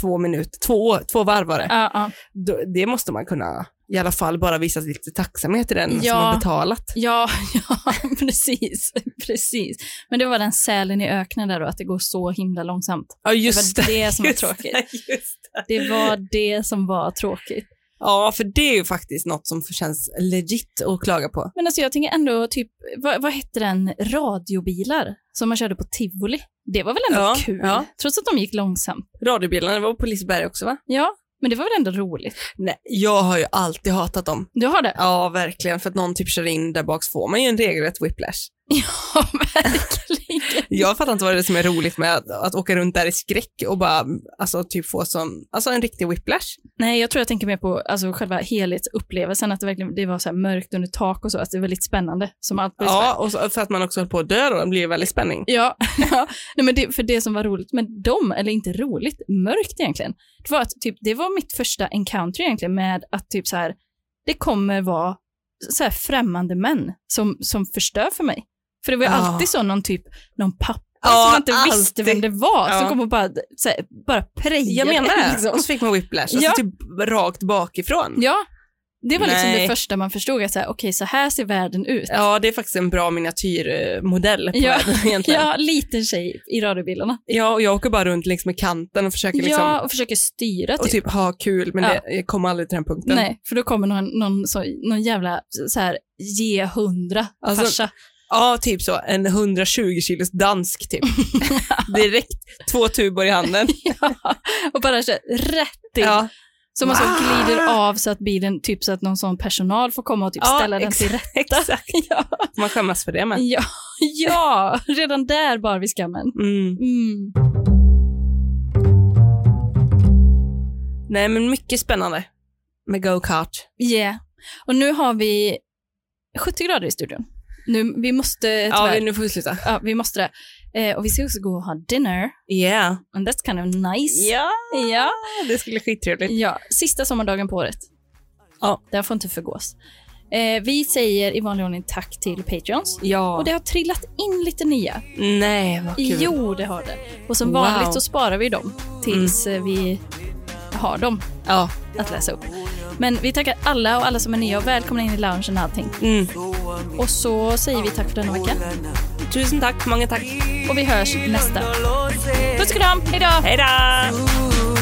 Speaker 2: två minuter, två, två varv var det
Speaker 1: ja, ja.
Speaker 2: då, det måste man kunna i alla fall bara visa lite tacksamhet till den
Speaker 1: Ja.
Speaker 2: som har betalat.
Speaker 1: ja, ja precis, precis. Men det var den sälen i öknen där då, att det går så himla långsamt.
Speaker 2: Ja,
Speaker 1: det var det som var
Speaker 2: just
Speaker 1: tråkigt.
Speaker 2: det, just det.
Speaker 1: Det var det som var tråkigt.
Speaker 2: Ja, för det är ju faktiskt något som känns legit att klaga på.
Speaker 1: Men alltså jag tänker ändå typ, vad, vad hette den, radiobilar som man körde på tivoli? Det var väl ändå
Speaker 2: Ja,
Speaker 1: kul?
Speaker 2: ja.
Speaker 1: Trots att de gick långsamt.
Speaker 2: Radiobilarna, det var på Liseberg också va?
Speaker 1: Ja, men det var väl ändå roligt?
Speaker 2: Nej, jag har ju alltid hatat dem.
Speaker 1: Du har det?
Speaker 2: Ja, verkligen, för att någon typ kör in där bak så får man ju en regelrätt whiplash.
Speaker 1: Ja, verkligen.
Speaker 2: Jag fattar inte vad det är som är roligt med att, att åka runt där i skräck och bara, alltså typ få som, alltså en riktig whiplash.
Speaker 1: Nej, jag tror jag tänker mer på alltså, själva helhetsupplevelsen, att det verkligen det var så här mörkt under tak och så, att det var lite spännande. Som allt blir
Speaker 2: Ja, och så, för att man också höll på att dö då, det blir ju väldigt spänning.
Speaker 1: Ja, ja. Nej, men det, för det som var roligt med dem, eller inte roligt, mörkt egentligen, det var att typ, det var mitt första encounter egentligen med att typ så här, det kommer vara så här främmande män som, som förstör för mig. För det var ju
Speaker 2: Ja.
Speaker 1: alltid så någon typ, någon pappa
Speaker 2: Ja,
Speaker 1: som man inte visste
Speaker 2: alltid.
Speaker 1: vem det var, som
Speaker 2: Ja.
Speaker 1: kom och bara, så här, bara prejade.
Speaker 2: Jag menar det.
Speaker 1: Liksom.
Speaker 2: Och så fick man whiplash,
Speaker 1: Ja.
Speaker 2: alltså typ rakt bakifrån.
Speaker 1: Ja, Det var liksom
Speaker 2: Nej.
Speaker 1: det första man förstod, att så här, okej, så här ser världen ut.
Speaker 2: Ja, det är faktiskt en bra miniatyrmodell på
Speaker 1: Ja.
Speaker 2: världen egentligen. Ja.
Speaker 1: Ja, liten tjej i radiobilarna.
Speaker 2: och jag åker bara runt längs med kanten och försöker liksom,
Speaker 1: Ja, och försöker styra
Speaker 2: och
Speaker 1: typ.
Speaker 2: typ ha kul, men
Speaker 1: Ja.
Speaker 2: det, jag kommer aldrig till den punkten.
Speaker 1: Nej, för då kommer någon, någon, så, någon jävla så här, G100
Speaker 2: Alltså-
Speaker 1: farsa.
Speaker 2: Ja, typ så. En 120 kilos dansk typ. Direkt. Två tubor i handen.
Speaker 1: och bara så här, rätt in.
Speaker 2: Ja,
Speaker 1: Som man så
Speaker 2: Ah!
Speaker 1: glider av så att bilen, typ så att någon sån personal får komma och typ
Speaker 2: Ja,
Speaker 1: ställa den till
Speaker 2: exakt.
Speaker 1: rätt.
Speaker 2: exakt.
Speaker 1: Ja.
Speaker 2: Man skämmas för det med.
Speaker 1: Ja, ja, redan där bar vi skammen.
Speaker 2: Mm.
Speaker 1: Mm.
Speaker 2: Nej, men mycket spännande med go-kart.
Speaker 1: Yeah. Och nu har vi 70 grader i studion. Nu, vi måste
Speaker 2: Ja,
Speaker 1: tyvärr,
Speaker 2: vi- nu får vi sluta.
Speaker 1: ja, vi måste det. Eh, och vi ska också gå och ha dinner.
Speaker 2: Yeah.
Speaker 1: And that's kind of nice.
Speaker 2: Ja,
Speaker 1: Ja.
Speaker 2: det skulle bli skittrevligt.
Speaker 1: ja. Sista sommardagen på året.
Speaker 2: Ja.
Speaker 1: Den får inte förgås. Eh, vi säger i vanlig ordning tack till Patreons.
Speaker 2: Ja.
Speaker 1: Och det har trillat in lite nya.
Speaker 2: Nej, vad kul.
Speaker 1: Jo, det har det. Och som
Speaker 2: Wow. Mm.
Speaker 1: vanligt så sparar vi dem tills eh, vi har dem
Speaker 2: Ja.
Speaker 1: att läsa upp. Men vi tackar alla och alla som är nya och välkomna in i loungen och allting.
Speaker 2: Mm.
Speaker 1: Och så säger vi tack för denna vecka.
Speaker 2: Tusen tack, många tack.
Speaker 1: Och vi hörs nästa. Puss och kram, hejdå!
Speaker 2: Hej då!
Speaker 5: Ooh,